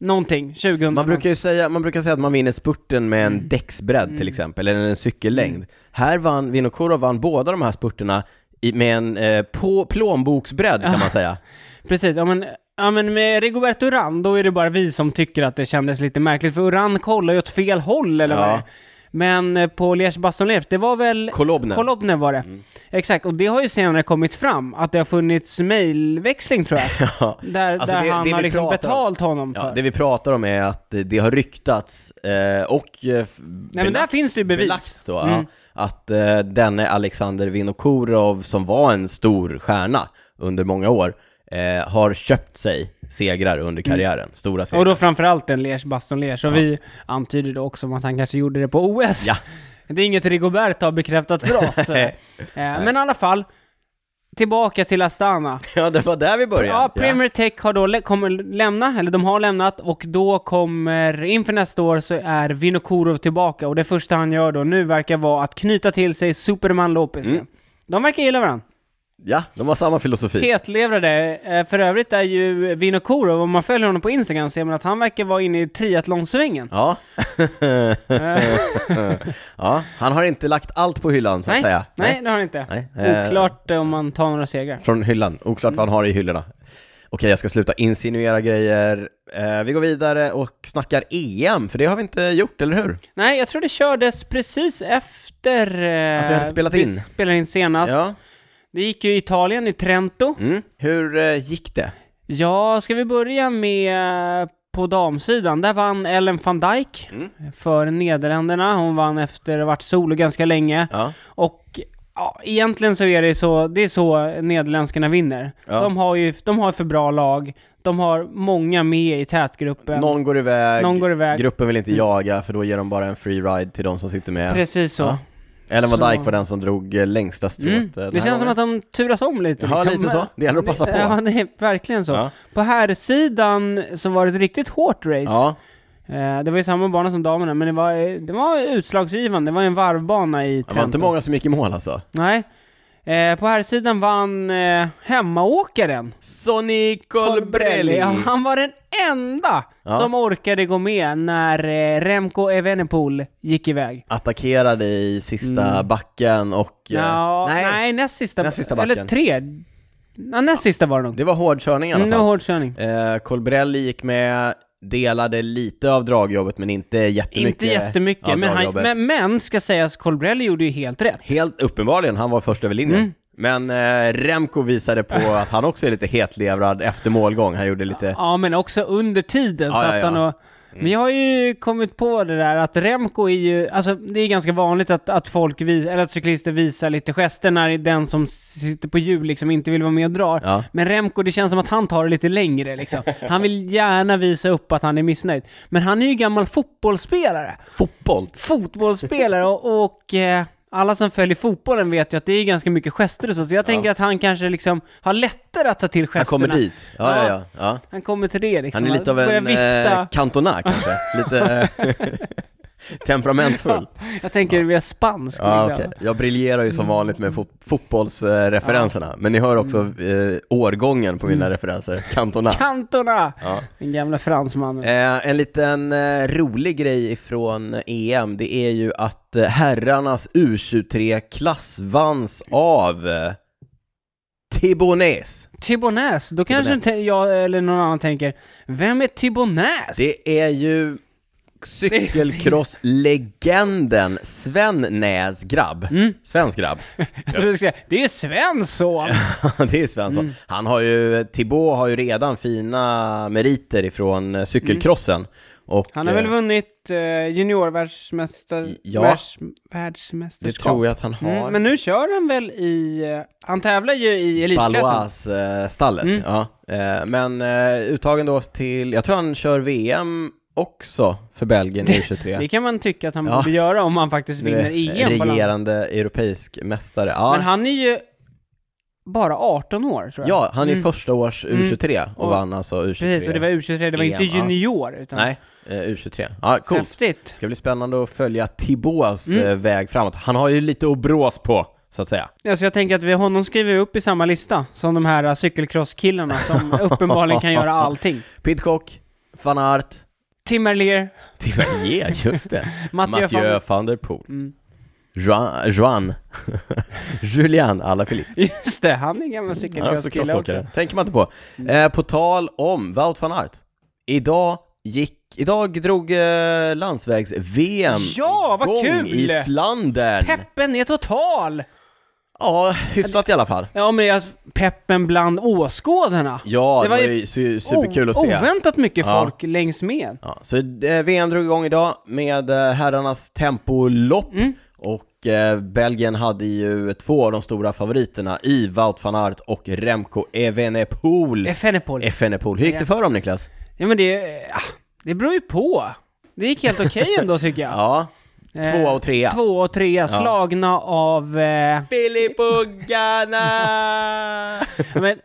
S2: Någonting. 2000...
S1: Man brukar ju säga, man brukar säga att man vinner spurten med en
S2: Mm.
S1: däcksbredd till exempel, eller en cykellängd. Här vann Vinokurov vann båda de här spurterna i, med en eh, på, plånboksbredd kan man säga.
S2: Precis, ja men, ja men med Rigoberto Urán, då är det bara vi som tycker att det kändes lite märkligt, för Urán kollar ju åt fel håll eller vad
S1: Ja.
S2: det är. Men eh, på liège bastogne det var väl...
S1: Kolobner.
S2: Kolobner var det.
S1: Mm.
S2: Exakt, och det har ju senare kommit fram att det har funnits mejlväxling tror
S1: *laughs*
S2: jag. Där,
S1: Alltså,
S2: där
S1: det-
S2: han
S1: det
S2: har
S1: vi
S2: liksom
S1: pratar om-
S2: betalt honom för.
S1: Ja, det vi pratar om är att det har ryktats eh, och eh,
S2: Nej men där finns det ju bevis. Mm.
S1: belagt då, ja, att eh, denne Alexander Vinokurov som var en stor stjärna under många år eh, har köpt sig segrar under karriären. Stora segrar.
S2: Mm. Och då framförallt en Lers Baston Lers, och vi antyder då också om att han kanske gjorde det på OS.
S1: Ja.
S2: Det är inget Rigobert har bekräftat för oss. eh, men i alla fall, tillbaka till Astana.
S1: ja, det var där vi började.
S2: Ja, Premier Tech har då lä- kommer lämna, eller de har lämnat, och då kommer, inför nästa år så är Vinokurov tillbaka, och det första han gör då nu verkar vara att knyta till sig Superman Lopez. De verkar gilla varandra.
S1: ja, de har samma filosofi.
S2: Hetlevrade. Eh, För övrigt är ju Vinokurov, om man följer honom på Instagram ser man att han verkar vara inne i triathlonsvängen.
S1: Ja. *laughs* ja, han har inte lagt allt på hyllan så att
S2: Nej,
S1: säga.
S2: nej, det har han inte.
S1: Nej, eh,
S2: Oklart eh, om man tar några segrar.
S1: Från hyllan, oklart vad han har i hyllorna. Okej, jag ska sluta insinuera grejer. Eh, vi går vidare och snackar EM, för det har vi inte gjort, eller hur?
S2: Nej, jag tror det kördes precis efter... eh,
S1: Att vi hade spelat in.
S2: spelade in senast.
S1: ja.
S2: Det gick ju i Italien, i Trento.
S1: Mm. Hur eh, gick det?
S2: Ja, ska vi börja med eh, på damsidan? Där vann Ellen van Dijk
S1: Mm.
S2: för Nederländerna. Hon vann efter att ha varit solo ganska länge.
S1: Ja.
S2: Och ja, egentligen så är det så, det är så Nederländskarna vinner.
S1: Ja.
S2: De har ju, de har för bra lag, de har många med i tätgruppen.
S1: Någon går iväg,
S2: Någon går iväg. Mm.
S1: gruppen vill inte jaga, för då ger de bara en free ride till de som sitter med.
S2: Precis så.
S1: Ja. Ellen van
S2: Så-
S1: Dijk var den som drog eh, längsta strået. eh,
S2: Mm.
S1: den här
S2: Det känns som
S1: gången.
S2: att de turas om lite. liksom.
S1: Ja, lite så. Det gäller att passa på.
S2: Ja, *laughs* det är verkligen så.
S1: Ja.
S2: På här sidan så var det ett riktigt hårt race.
S1: Ja,
S2: Eh, Det var ju samma bana som damerna, men det var, eh, det var utslagsgivande. Det var en varvbana i
S1: det var inte
S2: Trento.
S1: många som gick i mål alltså.
S2: Nej. Eh, På här sidan vann eh, hemmaåkaren.
S1: Sonny Colbrelli!
S2: Ja, han var den enda
S1: Ja.
S2: som orkade gå med när eh, Remco Evenepoel gick iväg.
S1: Attackerade i sista backen och... eh,
S2: Mm. Ja, nej. näst sista.
S1: Näst sista backen.
S2: Eller tre. Ja, näst sista var det nog.
S1: Det var hårdkörning i alla
S2: Mm, Det
S1: fall.
S2: var hård körning.
S1: Eh, Colbrelli gick med, delade lite av dragjobbet men inte jättemycket.
S2: Inte jättemycket,
S1: av
S2: men, han,
S1: dragjobbet.
S2: men, men ska sägas, Colbrelli gjorde ju helt rätt.
S1: Helt uppenbarligen, han var först över linjen.
S2: Mm.
S1: Men eh, Remco visade på att han också är lite hetlevrad efter målgång. Han gjorde lite...
S2: Ja, men också under tiden
S1: Ja,
S2: så
S1: ja,
S2: att han
S1: ja.
S2: och... Men jag har ju kommit på det där att Remco är ju, alltså det är ganska vanligt att, att folk, vi, eller att cyklister visar lite gester när den som sitter på hjul liksom inte vill vara med och drar.
S1: Ja.
S2: Men Remco, det känns som att han tar det lite längre liksom. Han vill gärna visa upp att han är missnöjd. Men han är ju gammal fotbollsspelare.
S1: Fotboll!
S2: Fotbollsspelare och, och eh, alla som följer fotbollen vet ju att det är ganska mycket gester och så. Så jag tänker att han kanske liksom har lättare att ta till
S1: Han
S2: gesterna.
S1: kommer dit. Ja, ja, ja. ja.
S2: Han kommer till det liksom.
S1: Han är lite av
S2: Börjar
S1: en
S2: vifta.
S1: eh, Cantona kanske.
S2: *laughs*
S1: Lite eh, *laughs* temperamentsfull.
S2: Jag tänker vi är spansk
S1: Ja,
S2: liksom.
S1: okej. Jag briljerar ju som vanligt med fo- fotbollsreferenserna, men ni hör också
S2: Mm.
S1: eh, årgången på mina referenser, Cantona.
S2: Cantona!
S1: Ja.
S2: Den gamla fransmannen.
S1: Eh, en liten eh, rolig grej ifrån EM, det är ju att eh, herrarnas U23-klass vanns av eh, Tibonäs.
S2: Thibonäs, då kanske inte jag eller någon annan tänker, vem är Thibonäs?
S1: Det är ju cykelcross-legenden Sven Näs grabb.
S2: Mm.
S1: Svensk grabb.
S2: Jag trodde du skulle säga, det är Svensson!
S1: *laughs* Ja, det är Svensson.
S2: Mm.
S1: Han har ju, eh, Thibaut har ju redan fina meriter ifrån eh, cykelcrossen. Och,
S2: Mm. Han har väl
S1: eh,
S2: vunnit eh, juniorvärldsmäster...
S1: Ja.
S2: världs-
S1: Det
S2: världsmästerskap.
S1: tror jag att han har.
S2: Mm, men nu kör han väl i... eh, han tävlar ju i elitklassen. Mm.
S1: Balois, eh, stallet ja. Eh, men eh, uttagen då till, jag tror han kör VM också för Belgien
S2: *laughs*
S1: i
S2: Det
S1: 23.
S2: kan man tycka att han
S1: Ja.
S2: borde göra om han faktiskt vinner EM på land.
S1: Regerande europeisk mästare. Ja,
S2: Men han är ju bara 18 år tror jag.
S1: ja, han är första års U23 och
S2: Mm. Och-
S1: vann alltså U23.
S2: Precis, och det var U23, det var inte
S1: EM, E ja.
S2: junior. Utan
S1: Nej, eh, U23. Ja, coolt.
S2: Häftigt. Mm.
S1: Det ska bli spännande att följa Thibauts eh, väg framåt. Han har ju lite att brås på, så att säga.
S2: Alltså jag tänker att vi, honom skriver vi upp i samma lista som de här uh,
S1: *laughs*
S2: cykelcrosskillarna som uppenbarligen kan göra allting.
S1: Pidcock, van Aert,
S2: Tim Erlier,
S1: Tivernier, just det.
S2: Mathieu
S1: Mathieu van der Poel.
S2: Mm.
S1: Juan, Juan. *laughs* Julian Alaphilippe.
S2: just det, han är gammal
S1: Han är också
S2: cykelcrosskille också. Mm.
S1: crossåkare, tänker man inte på. Eh, på tal om Wout van Aert. Idag gick, idag drog eh, landsvägs-VM
S2: Ja, vad
S1: igång
S2: kul!
S1: i Flandern.
S2: Peppen är total!
S1: Ja, hyfsat i alla fall.
S2: Ja men alltså, peppen bland åskådarna.
S1: Ja,
S2: Det
S1: det
S2: var
S1: var
S2: ju oh,
S1: ju su- superkul att se.
S2: Oväntat mycket
S1: Ja.
S2: folk längs med. Mm.
S1: Ja, så eh, VM drog igång idag med eh, herrarnas tempolopp och och eh, Belgien hade ju två av de stora favoriterna i Wout van Aert och Remco Evenepoel.
S2: Efenepol.
S1: Evenepoel. Hur gick det för dem Niklas?
S2: Ja men det, ah, det beror ju på. Det gick helt okej
S1: *laughs*
S2: ändå tycker jag.
S1: Ja, tvåa och trea.
S2: Eh, Tvåa och trea, slagna av... Eh,
S1: Filippo Ganna!
S2: men,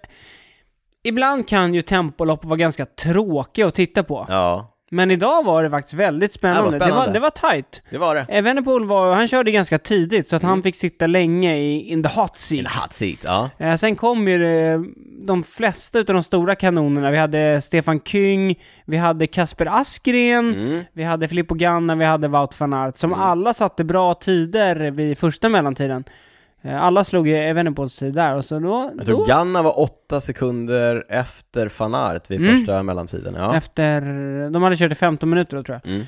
S2: ibland kan ju tempolopp vara ganska tråkiga att titta på.
S1: *laughs* ja,
S2: Men idag var det faktiskt väldigt spännande.
S1: Det var spännande.
S2: Det, var, det var tajt.
S1: det var det.
S2: Eh, Venepol var, han körde ganska tidigt så att han fick sitta länge i in the hot seat.
S1: En Mm. hot seat, ja.
S2: Eh, sen kom ju eh, de flesta utav de stora kanonerna. Vi hade Stefan Kyng, vi hade Kasper Askren,
S1: Mm.
S2: vi hade Filippo Ganna, vi hade Wout van Aert, som alla satte bra tider vid första mellantiden. Eh, alla slog ju Evenepoels tid där och så då...
S1: Jag
S2: då
S1: tror Ganna var åtta sekunder efter van Aert vid
S2: Mm.
S1: första mellantiden. Ja.
S2: Efter... De hade kört i 15 minuter då tror jag.
S1: Mm.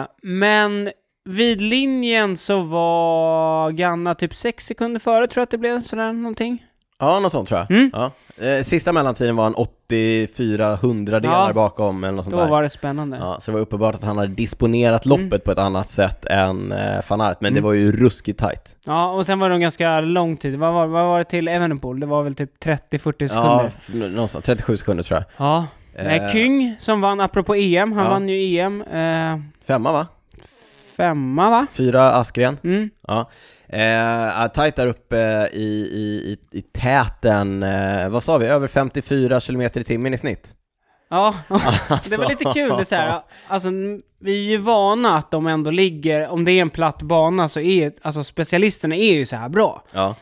S2: Eh, men vid linjen så var Ganna typ 6 sekunder före tror jag att det blev, sådär någonting.
S1: ja, något sånt tror jag.
S2: Mm.
S1: Ja. Eh, Sista mellantiden var han 84 hundradelar
S2: Ja.
S1: bakom eller något sånt
S2: Då
S1: där.
S2: var det Mm. spännande.
S1: Ja, så det var uppenbart att han hade disponerat loppet på ett annat sätt än eh, van Aert, men det
S2: Mm.
S1: var ju ruskigt tajt.
S2: Ja, och sen var det en ganska lång tid. Vad var, vad var det till Evenepoel? Det var väl typ 30-40
S1: Ja,
S2: sekunder?
S1: f- någonstans, 37 sekunder tror jag.
S2: Ja. Nej,
S1: Eh.
S2: Kyng som vann, apropå EM, han
S1: Ja.
S2: vann ju EM. Eh,
S1: Femma va?
S2: femma va?
S1: Fyra Askren.
S2: Mm.
S1: Ja. Eh, ja, tajt där uppe i, i, i, i täten, eh, vad sa vi, över 54 kilometer i timmen i snitt. *laughs*
S2: Ja,
S1: Alltså.
S2: det var lite kul. Det är så här, alltså, n- vi är ju vana att de ändå ligger, om det är en platt bana så är alltså specialisterna är ju så här bra.
S1: Ja.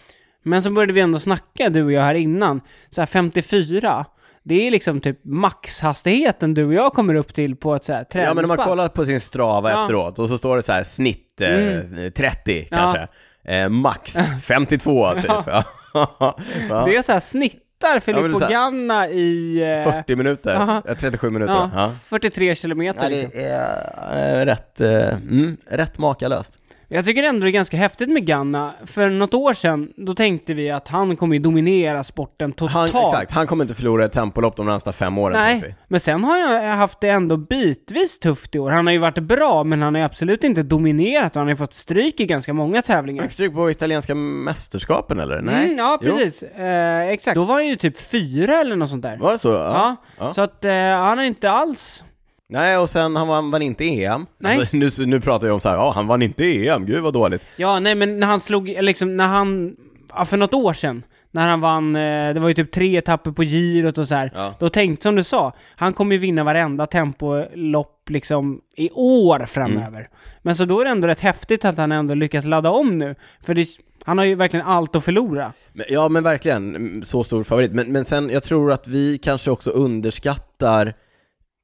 S2: Men så började vi ändå snacka, du och jag, här innan. Så här 54, det är liksom typ maxhastigheten du och jag kommer upp till på ett så här
S1: Ja men om man
S2: träningspass.
S1: kollar på sin strava
S2: Ja. Mm.
S1: efteråt och så står det så här snitt eh, 30
S2: Ja.
S1: kanske, eh,
S2: *laughs*
S1: max 52 typ. Ja. Ja.
S2: Det är så här snittar
S1: men
S2: Filippo
S1: det är så här-
S2: Ganna i... eh,
S1: 40 minuter,
S2: Ja.
S1: eh, 37 minuter.
S2: ja,
S1: Ja.
S2: 43 kilometer
S1: Ja,
S2: liksom.
S1: det är eh, rätt, eh, mm, rätt makalöst.
S2: Jag tycker ändå det är ganska häftigt med Ganna. För något år sedan, då tänkte vi att han kommer ju dominera sporten
S1: Han,
S2: totalt.
S1: exakt, han kommer inte förlora ett tempolopp de närmsta fem åren. tänkte vi.
S2: Nej, men sen har jag haft det ändå bitvis tufft i år. Han har ju varit bra, men han har ju absolut inte dominerat och han har ju fått stryk i ganska många tävlingar.
S1: Fick stryk på italienska mästerskapen eller? Nej?
S2: Mm, ja,
S1: Jo.
S2: precis. Eh, exakt. Då var han ju typ fyra eller något sånt där.
S1: Var det så?
S2: Ja,
S1: ja.
S2: så att eh, han är inte alls...
S1: Nej, och sen han vann, vann inte EM.
S2: Nej.
S1: Alltså, nu, nu pratar jag om så här, ja han vann inte EM, gud vad dåligt.
S2: Ja, nej men när han slog, liksom när han, ja, för något år sedan, när han vann, eh, det var ju typ tre etapper på girot och så här.
S1: Ja.
S2: Då tänkte, som du sa, han kommer ju vinna varenda tempolopp liksom i år framöver.
S1: Mm.
S2: Men så då är det ändå rätt häftigt att han ändå lyckas ladda om nu. För det, han har ju verkligen allt att förlora.
S1: Men- Ja men verkligen, mm, så stor favorit. Men, men sen, jag tror att vi kanske också underskattar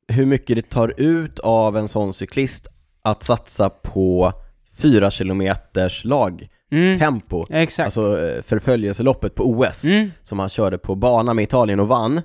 S1: hur mycket det tar ut av en sån cyklist att satsa på fyra kilometers lag, tempo.
S2: Ja, exakt.
S1: Alltså eh, förföljelseloppet på OS, som han körde på bana med Italien och vann.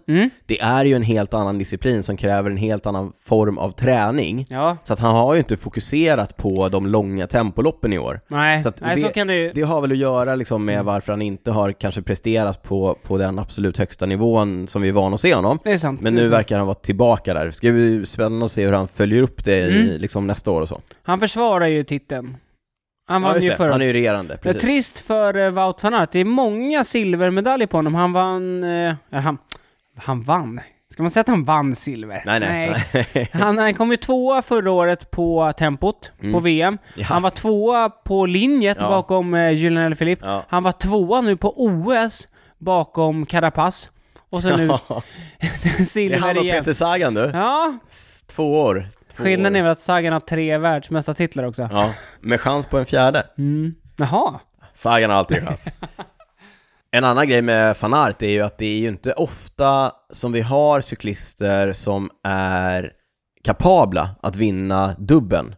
S1: Det är ju en helt annan disciplin som kräver en helt annan form av träning.
S2: ja.
S1: Så att han har ju inte fokuserat på de långa tempoloppen i år.
S2: Nej,
S1: Så att
S2: nej så kan det ju...
S1: Det har väl att göra liksom
S2: Mm.
S1: med varför han inte har kanske presterat på, på den absolut högsta nivån som vi är vana att se honom.
S2: Det är sant.
S1: Men
S2: det är
S1: nu
S2: sant.
S1: verkar han vara tillbaka där. Det ska bli spännande att se hur han följer upp det i, liksom nästa år och så.
S2: Mm. Han försvarar ju titeln. Han
S1: Ja,
S2: vann
S1: just
S2: ju
S1: det.
S2: förra
S1: han är ju regerande,
S2: Det är
S1: precis.
S2: trist för eh, Wout van Aert. Det är många silvermedaljer på honom. Han vann... eh, eller han, han vann? Ska man säga att han vann silver?
S1: Nej, nej. *laughs* nej.
S2: Han, han kom ju tvåa förra året på tempot, på VM.
S1: Mm. Ja.
S2: Han var tvåa på linjet
S1: Ja.
S2: bakom eh, Julian Philipp.
S1: Ja.
S2: Han var tvåa nu på OS bakom Carapaz. Och så nu
S1: det är
S2: *laughs* silver
S1: han och
S2: igen.
S1: Peter Sagan du.
S2: Ja,
S1: S- Två år. Två
S2: skillnaden
S1: år.
S2: är väl att Sagan har tre världsmästartitlar också. Mm.
S1: Ja, med chans på en fjärde.
S2: Jaha.
S1: Sagan har alltid
S2: *laughs*
S1: chans. En annan grej med van Aert är ju att det är ju inte ofta som vi har cyklister som är kapabla att vinna dubben.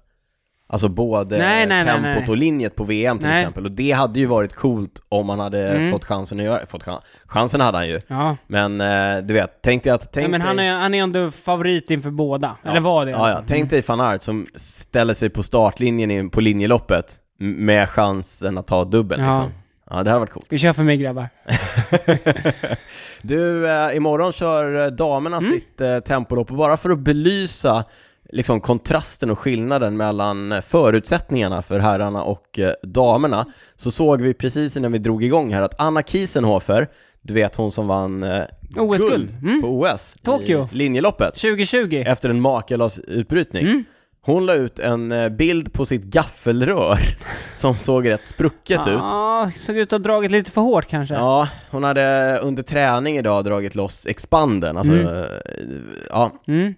S1: Alltså både
S2: Nej, nej, nej,
S1: tempot
S2: nej.
S1: och linjet på VM till
S2: Nej. Mm.
S1: exempel. Och det hade ju varit coolt om han hade fått chansen att göra fått chan- Chansen hade han ju.
S2: Ja.
S1: Men eh, du vet, tänk dig att... Tänk
S2: Nej, men han
S1: dig...
S2: är, han är ändå favorit inför båda. Eller var det.
S1: Ja, ja. Tänk dig van Aert som ställer sig på startlinjen i- på linjeloppet m- med chansen att ta dubbeln
S2: Ja.
S1: liksom. Ja, det hade varit coolt.
S2: Vi kör för mig grabbar.
S1: Du, eh, imorgon kör eh, damerna sitt eh, tempolopp och bara för att belysa liksom kontrasten och skillnaden mellan eh, förutsättningarna för herrarna och eh, damerna så såg vi precis innan vi drog igång här att Anna Kiesenhofer, du vet hon som vann eh,
S2: OS-guld.
S1: guld på OS
S2: Tokyo.
S1: i linjeloppet
S2: 2020.
S1: efter en makalös utbrytning. Hon la ut en eh, bild på sitt gaffelrör *laughs* som såg rätt sprucket
S2: Ah.
S1: ut.
S2: Ja, såg ut att ha dragit lite för hårt kanske.
S1: Ja, hon hade under träning idag dragit loss expanden, alltså, eh, ja,
S2: Mm.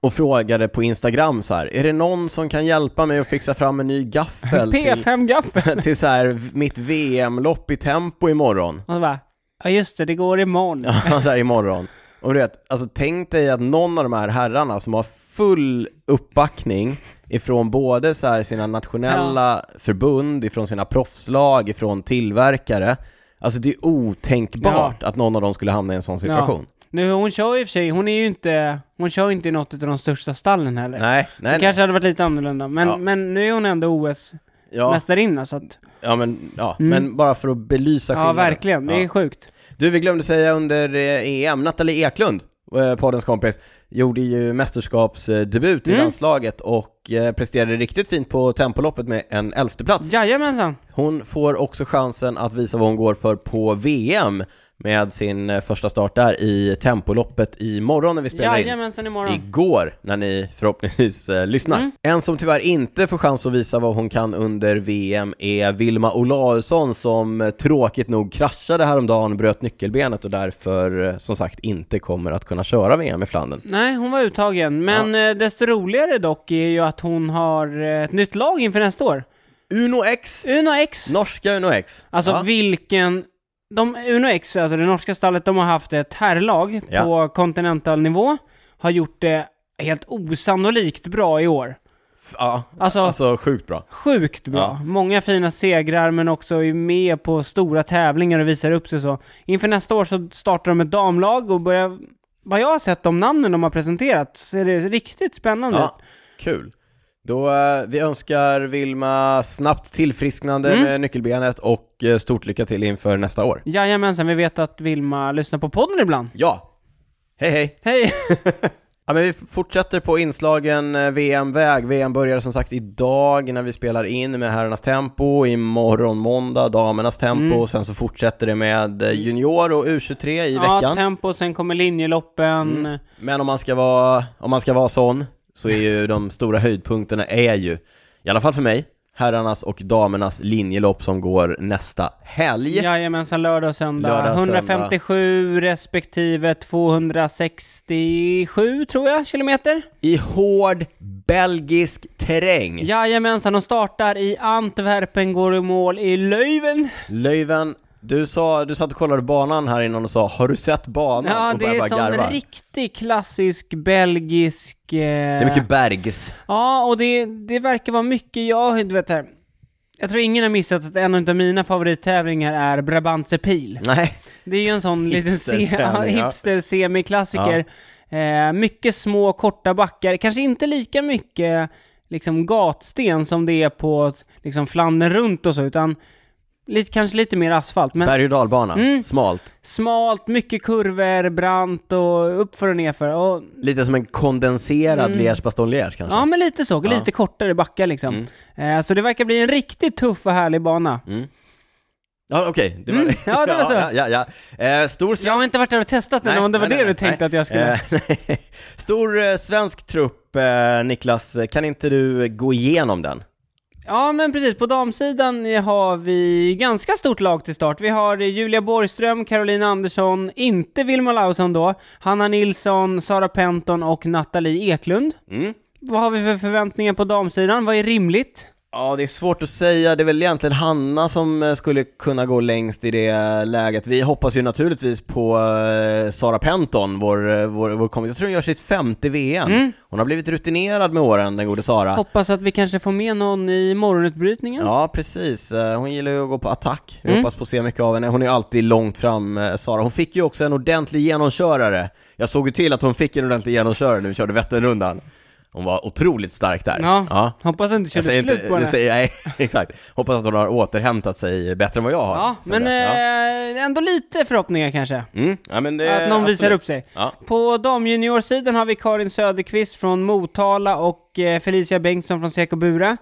S1: och frågade på Instagram så här, är det någon som kan hjälpa mig att fixa fram en ny
S2: *laughs*
S1: gaffel till,
S2: P5 gaffel.
S1: till *laughs* så här, mitt VM-lopp i tempo imorgon? *laughs*
S2: Och så bara, ja just det, det går imorgon.
S1: Ja, så här, imorgon. Och du vet, alltså tänk dig att någon av de här herrarna som har full uppbackning ifrån både så här sina nationella förbund, ifrån sina proffslag, ifrån tillverkare. Alltså det är otänkbart att någon av dem skulle hamna i en sån situation.
S2: Ja. Nu, hon kör ju i och för sig, hon är ju inte, hon kör ju inte i något av de största stallen heller.
S1: Nej, nej,
S2: det
S1: nej.
S2: kanske hade varit lite annorlunda, men,
S1: Ja.
S2: men nu är hon ändå OS-mästarinna
S1: Ja,
S2: så att,
S1: ja, men, ja. men bara för att belysa
S2: Mm. ja
S1: skillnaden.
S2: verkligen, det
S1: Ja.
S2: är sjukt.
S1: Du, vi glömde säga under eh, EM, Nathalie Eklund, eh, poddens kompis, gjorde ju mästerskapsdebut
S2: Mm.
S1: i landslaget och eh, presterade riktigt fint på tempoloppet med en elfteplats.
S2: Jajamensan!
S1: Hon får också chansen att visa vad hon går för på VM med sin eh, första start där i tempoloppet imorgon när vi spelar in.
S2: Jajamensan imorgon.
S1: Igår, när ni förhoppningsvis eh, lyssnar. En som tyvärr inte får chans att visa vad hon kan under VM är Vilma Olausson som eh, tråkigt nog kraschade häromdagen, bröt nyckelbenet och därför eh, som sagt inte kommer att kunna köra VM i Flandern.
S2: Nej, hon var uttagen. Men eh, desto roligare dock är ju att hon har eh, ett nytt lag inför nästa år.
S1: Uno X!
S2: Uno X!
S1: Norska Uno X.
S2: Alltså
S1: ja.
S2: vilken... De, Uno X, alltså det norska stallet, de har haft ett herrlag
S1: Ja.
S2: på kontinental nivå. Har gjort det helt osannolikt bra i år.
S1: F- ja.
S2: Alltså,
S1: Alltså sjukt bra.
S2: sjukt bra.
S1: Ja.
S2: Många fina segrar, men också är med på stora tävlingar och visar upp sig så. Inför nästa år så startar de ett damlag och börjar... Vad jag har sett, de namnen de har presenterat, så är det riktigt spännande ut.
S1: Ja, kul. Då, eh, vi önskar Vilma snabbt tillfrisknande med nyckelbenet och eh, stort lycka till inför nästa år.
S2: Jajamensan, vi vet att Vilma lyssnar på podden ibland.
S1: Ja. Hej hej!
S2: Hej!
S1: Ja, men vi fortsätter på inslagen eh, VM-väg. VM börjar som sagt idag när vi spelar in med herrarnas tempo, imorgon måndag damernas tempo och sen så fortsätter det med eh, junior och U23 i
S2: Ja,
S1: veckan. Mm.
S2: tempo, sen kommer linjeloppen.
S1: Men om man ska vara, om man ska vara sån så är ju de stora höjdpunkterna är ju, i alla fall för mig, herrarnas och damernas linjelopp som går nästa helg.
S2: Jajamensan, lördag och söndag.
S1: Lördag och söndag.
S2: 157 respektive 267 tror jag, kilometer.
S1: I hård belgisk terräng.
S2: Jajamensan, de startar i Antwerpen, går i mål i Löven.
S1: Löven, du, sa, du satt och kollade banan här innan och sa “Har du sett banan?”
S2: Ja,
S1: och
S2: det är
S1: bara
S2: som
S1: garva.
S2: en riktig klassisk belgisk... Eh...
S1: Det är mycket bergs.
S2: Ja, och det, det verkar vara mycket, jag, du vet här. Jag tror ingen har missat att en av mina favorittävlingar är Brabantse Pil.
S1: Nej.
S2: Det är ju en sån liten se- *laughs* ja,
S1: Hipstertävling, ja.
S2: hipster semiklassiker. Eh, mycket små korta backar, kanske inte lika mycket liksom gatsten som det är på liksom Flandern runt och så, utan lite, kanske lite mer asfalt. Men
S1: Berg och dalbana.
S2: Mm.
S1: Smalt.
S2: smalt, mycket kurvor, brant och uppför och nerför. Och,
S1: Lite som en kondenserad Liège Bastogne Liège kanske.
S2: Mm. ja, men lite så. Lite kortare backar
S1: Mm.
S2: liksom. Eh, så det verkar bli en riktigt tuff och härlig bana.
S1: Ja, okej. Det var det.
S2: Mm. Ja, det var så.
S1: *laughs* Ja, ja, ja. Eh, stor svensk...
S2: Jag har inte varit där och testat den, om det var
S1: nej,
S2: det
S1: nej,
S2: du tänkte
S1: nej.
S2: att jag skulle...
S1: Eh, *laughs* nej. stor eh, svensk trupp, eh, Niklas. Kan inte du gå igenom den?
S2: Ja, men precis. På damsidan har vi ganska stort lag till start. Vi har Julia Borgström, Caroline Andersson, inte Vilma Lausson då, Hanna Nilsson, Sara Penton och Nathalie Eklund.
S1: Mm.
S2: Vad har vi för förväntningar på damsidan? Vad är rimligt?
S1: Ja, det är svårt att säga. Det är väl egentligen Hanna som eh, skulle kunna gå längst i det eh, läget. Vi hoppas ju naturligtvis på eh, Sara Penton, vår, eh, vår, vår kompis. Jag tror hon gör sitt femte VM. Hon har blivit rutinerad med åren, den gode Sara.
S2: Hoppas att vi kanske får med någon i morgonutbrytningen.
S1: Ja, precis. Eh, Hon gillar ju att gå på attack. Vi hoppas på att se mycket av henne. Hon är ju alltid långt fram, eh, Sara. Hon fick ju också en ordentlig genomkörare. Jag såg ju till att hon fick en ordentlig genomkörare när vi körde Vätternrundan. Hon var otroligt stark där.
S2: Ja, hoppas du inte
S1: Jag
S2: körde
S1: säger
S2: slut
S1: inte,
S2: på
S1: jag
S2: det.
S1: säger, nej, *laughs* exakt. Hoppas att hon har återhämtat sig bättre än vad jag har.
S2: Ja,
S1: sen
S2: men
S1: dess. ja.
S2: eh, ändå lite förhoppningar kanske.
S1: Mm, ja, men det,
S2: Att någon visar
S1: absolut.
S2: upp sig.
S1: Ja.
S2: På damjuniorsidan har vi Karin Söderqvist från Motala och eh, Felicia Bengtsson från Seko Bure.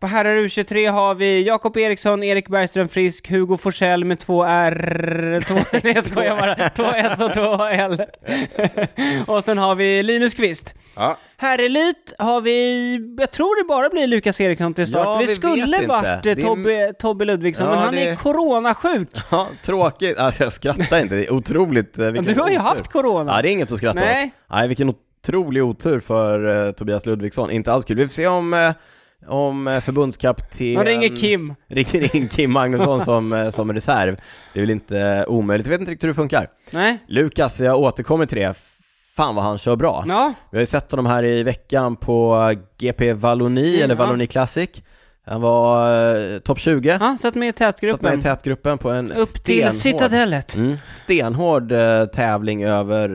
S2: På herrar U23 har vi Jakob Eriksson, Erik Bergström Frisk, Hugo Forsell med två R... Två,
S1: *laughs*
S2: *laughs* nej, jag skojar bara. Två S och två L. och sen har vi Linus Kvist.
S3: Ja.
S2: Herrelit har vi, jag tror det bara blir Lukas Eriksson till start.
S1: Ja,
S2: det
S1: vi vet
S2: skulle
S1: inte.
S2: varit
S1: Det
S2: eh,
S1: är-
S2: Tobbe, Tobbe Ludvigsson,
S1: Ja,
S2: men han
S1: det-
S2: är coronasjuk.
S1: Ja, tråkigt. Alltså jag skrattar inte, det är otroligt. eh, vilken
S2: Du har ju
S1: otur.
S2: haft corona.
S1: Ja, det är inget att skratta
S2: Nej.
S1: åt. Nej, vilken otrolig otur för eh, Tobias Ludvigsson. Inte alls kul. Vi får se om, eh, om eh, förbundskapten...
S2: Han ringer Kim.
S1: Ringer in Kim
S2: *laughs*
S1: Magnusson som, eh, som reserv. Det är väl inte eh, omöjligt. Jag vet inte riktigt hur det funkar.
S2: Nej.
S1: Lukas, jag återkommer till det. Fan vad han kör bra.
S2: Ja.
S1: Vi har ju sett honom här i veckan på GP Valloni,
S2: Mm,
S1: eller
S2: ja.
S1: Valloni Classic. Han var eh, topp 20,
S2: Ja, satt med i
S1: satt med
S2: tätgruppen.
S1: i tätgruppen på en
S2: Upp till
S1: stenhård,
S2: Citadellet.
S1: mm, stenhård eh, tävling över,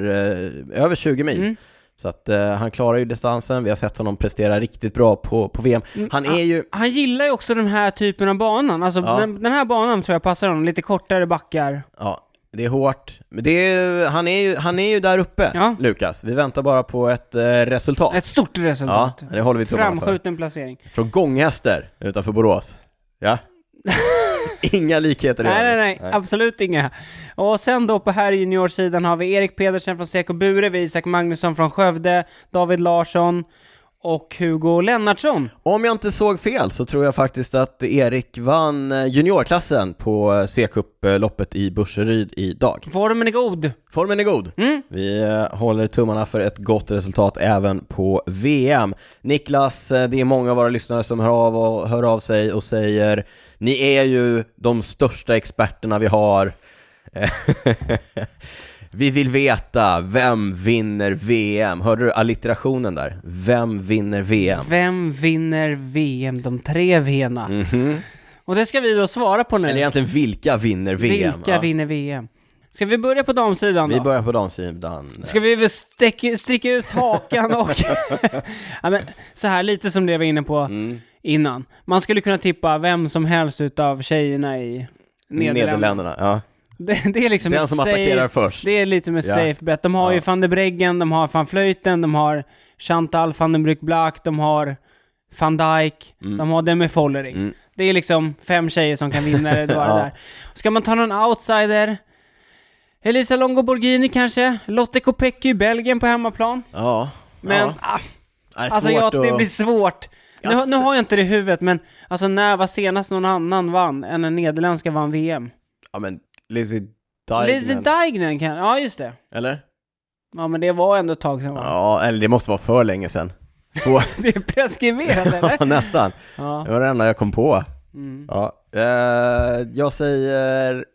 S1: eh, över 20 mil.
S2: Mm.
S1: Så att eh, han klarar ju distansen, vi har sett honom prestera riktigt bra på, på VM.
S2: Mm.
S1: Han är ju,
S2: Han gillar ju också den här typen av banan. Alltså,
S1: Ja.
S2: den, den här banan tror jag passar honom. Lite kortare backar.
S1: ja, det är hårt, men det är, han, är ju, han är ju där uppe,
S2: Ja.
S1: Lukas. Vi väntar bara på ett eh, resultat.
S2: Ett stort
S1: ja,
S2: resultat.
S1: det håller vi tummarna för.
S2: Framskjuten placering.
S1: Från Gånghäster utanför Borås.
S2: *laughs*
S1: Ja. Inga likheter i
S2: Nej, nej,
S1: övrigt.
S2: nej, Absolut inga. Och sen då på här juniorsidan har vi Erik Pedersen från Seko Bure, vi Isak Magnusson från Skövde, David Larsson och Hugo Lennartsson.
S1: Om jag inte såg fel så tror jag faktiskt att Erik vann eh, juniorklassen på eh, C-cup-loppet i Burseryd idag.
S2: Formen är god.
S1: Formen är god.
S2: Mm.
S1: Vi eh, håller tummarna för ett gott resultat även på VM. Niklas, eh, det är många av våra lyssnare som hör av, och, hör av sig och säger ni är ju de största experterna vi har. *laughs* vi vill veta, vem vinner VM? Hörde du allitterationen där? Vem vinner
S2: *laughs*
S1: VM?
S2: Vem vinner VM? De tre V'na. Mm-hmm. Och det ska vi då svara på nu.
S1: Mm. Eller egentligen vilka vinner VM?
S2: Vilka
S1: Ja.
S2: vinner VM? Ska vi börja på damsidan
S1: Vi
S2: då?
S1: börjar på damsidan. eh,
S2: Ska vi väl stäcka, sticka ut hakan och... *laughs* ja, men, så här lite som det jag var inne på
S1: Mm.
S2: innan. Man skulle kunna tippa vem som helst utav tjejerna i Nederländerna.
S1: Nederländerna. Ja.
S2: *laughs* Det, det är liksom
S1: Den
S2: ett
S1: som
S2: safe-
S1: attackerar först.
S2: Det är lite med
S1: Ja.
S2: safe bet. De har ju van de Breggen, de har van Vleuten, de har Chantal van den Brugge Blaak, de har van Dijk,
S1: Mm.
S2: de har Demi Follering. Det är liksom fem tjejer som kan vinna det
S1: *laughs*
S2: bara
S1: Ja.
S2: där. Ska man ta någon outsider? Elisa Longo Borghini kanske? Lotte Kopecky i Belgien på hemmaplan?
S1: Ja.
S2: Men,
S1: ja.
S2: ah,
S1: Nej,
S2: alltså
S1: svårt
S2: jag, det
S1: att-
S2: blir svårt. Nu,
S1: Jag
S2: nu
S1: s-
S2: har jag inte det i huvudet, men alltså när var senast någon annan vann än en nederländska vann VM?
S1: Ja men, Lizzie
S2: Lizzie
S1: Deignan.
S2: Deignan kan... Ja, just det.
S1: Eller?
S2: Ja, men det var ändå ett tag sedan va?
S1: Ja, eller det måste vara för länge sedan. Så,
S2: Det är preskriberat *laughs* eller?
S1: *laughs* ja, nästan.
S2: Ja.
S1: Det var det enda jag kom på.
S2: Mm.
S1: Ja. Eh, jag säger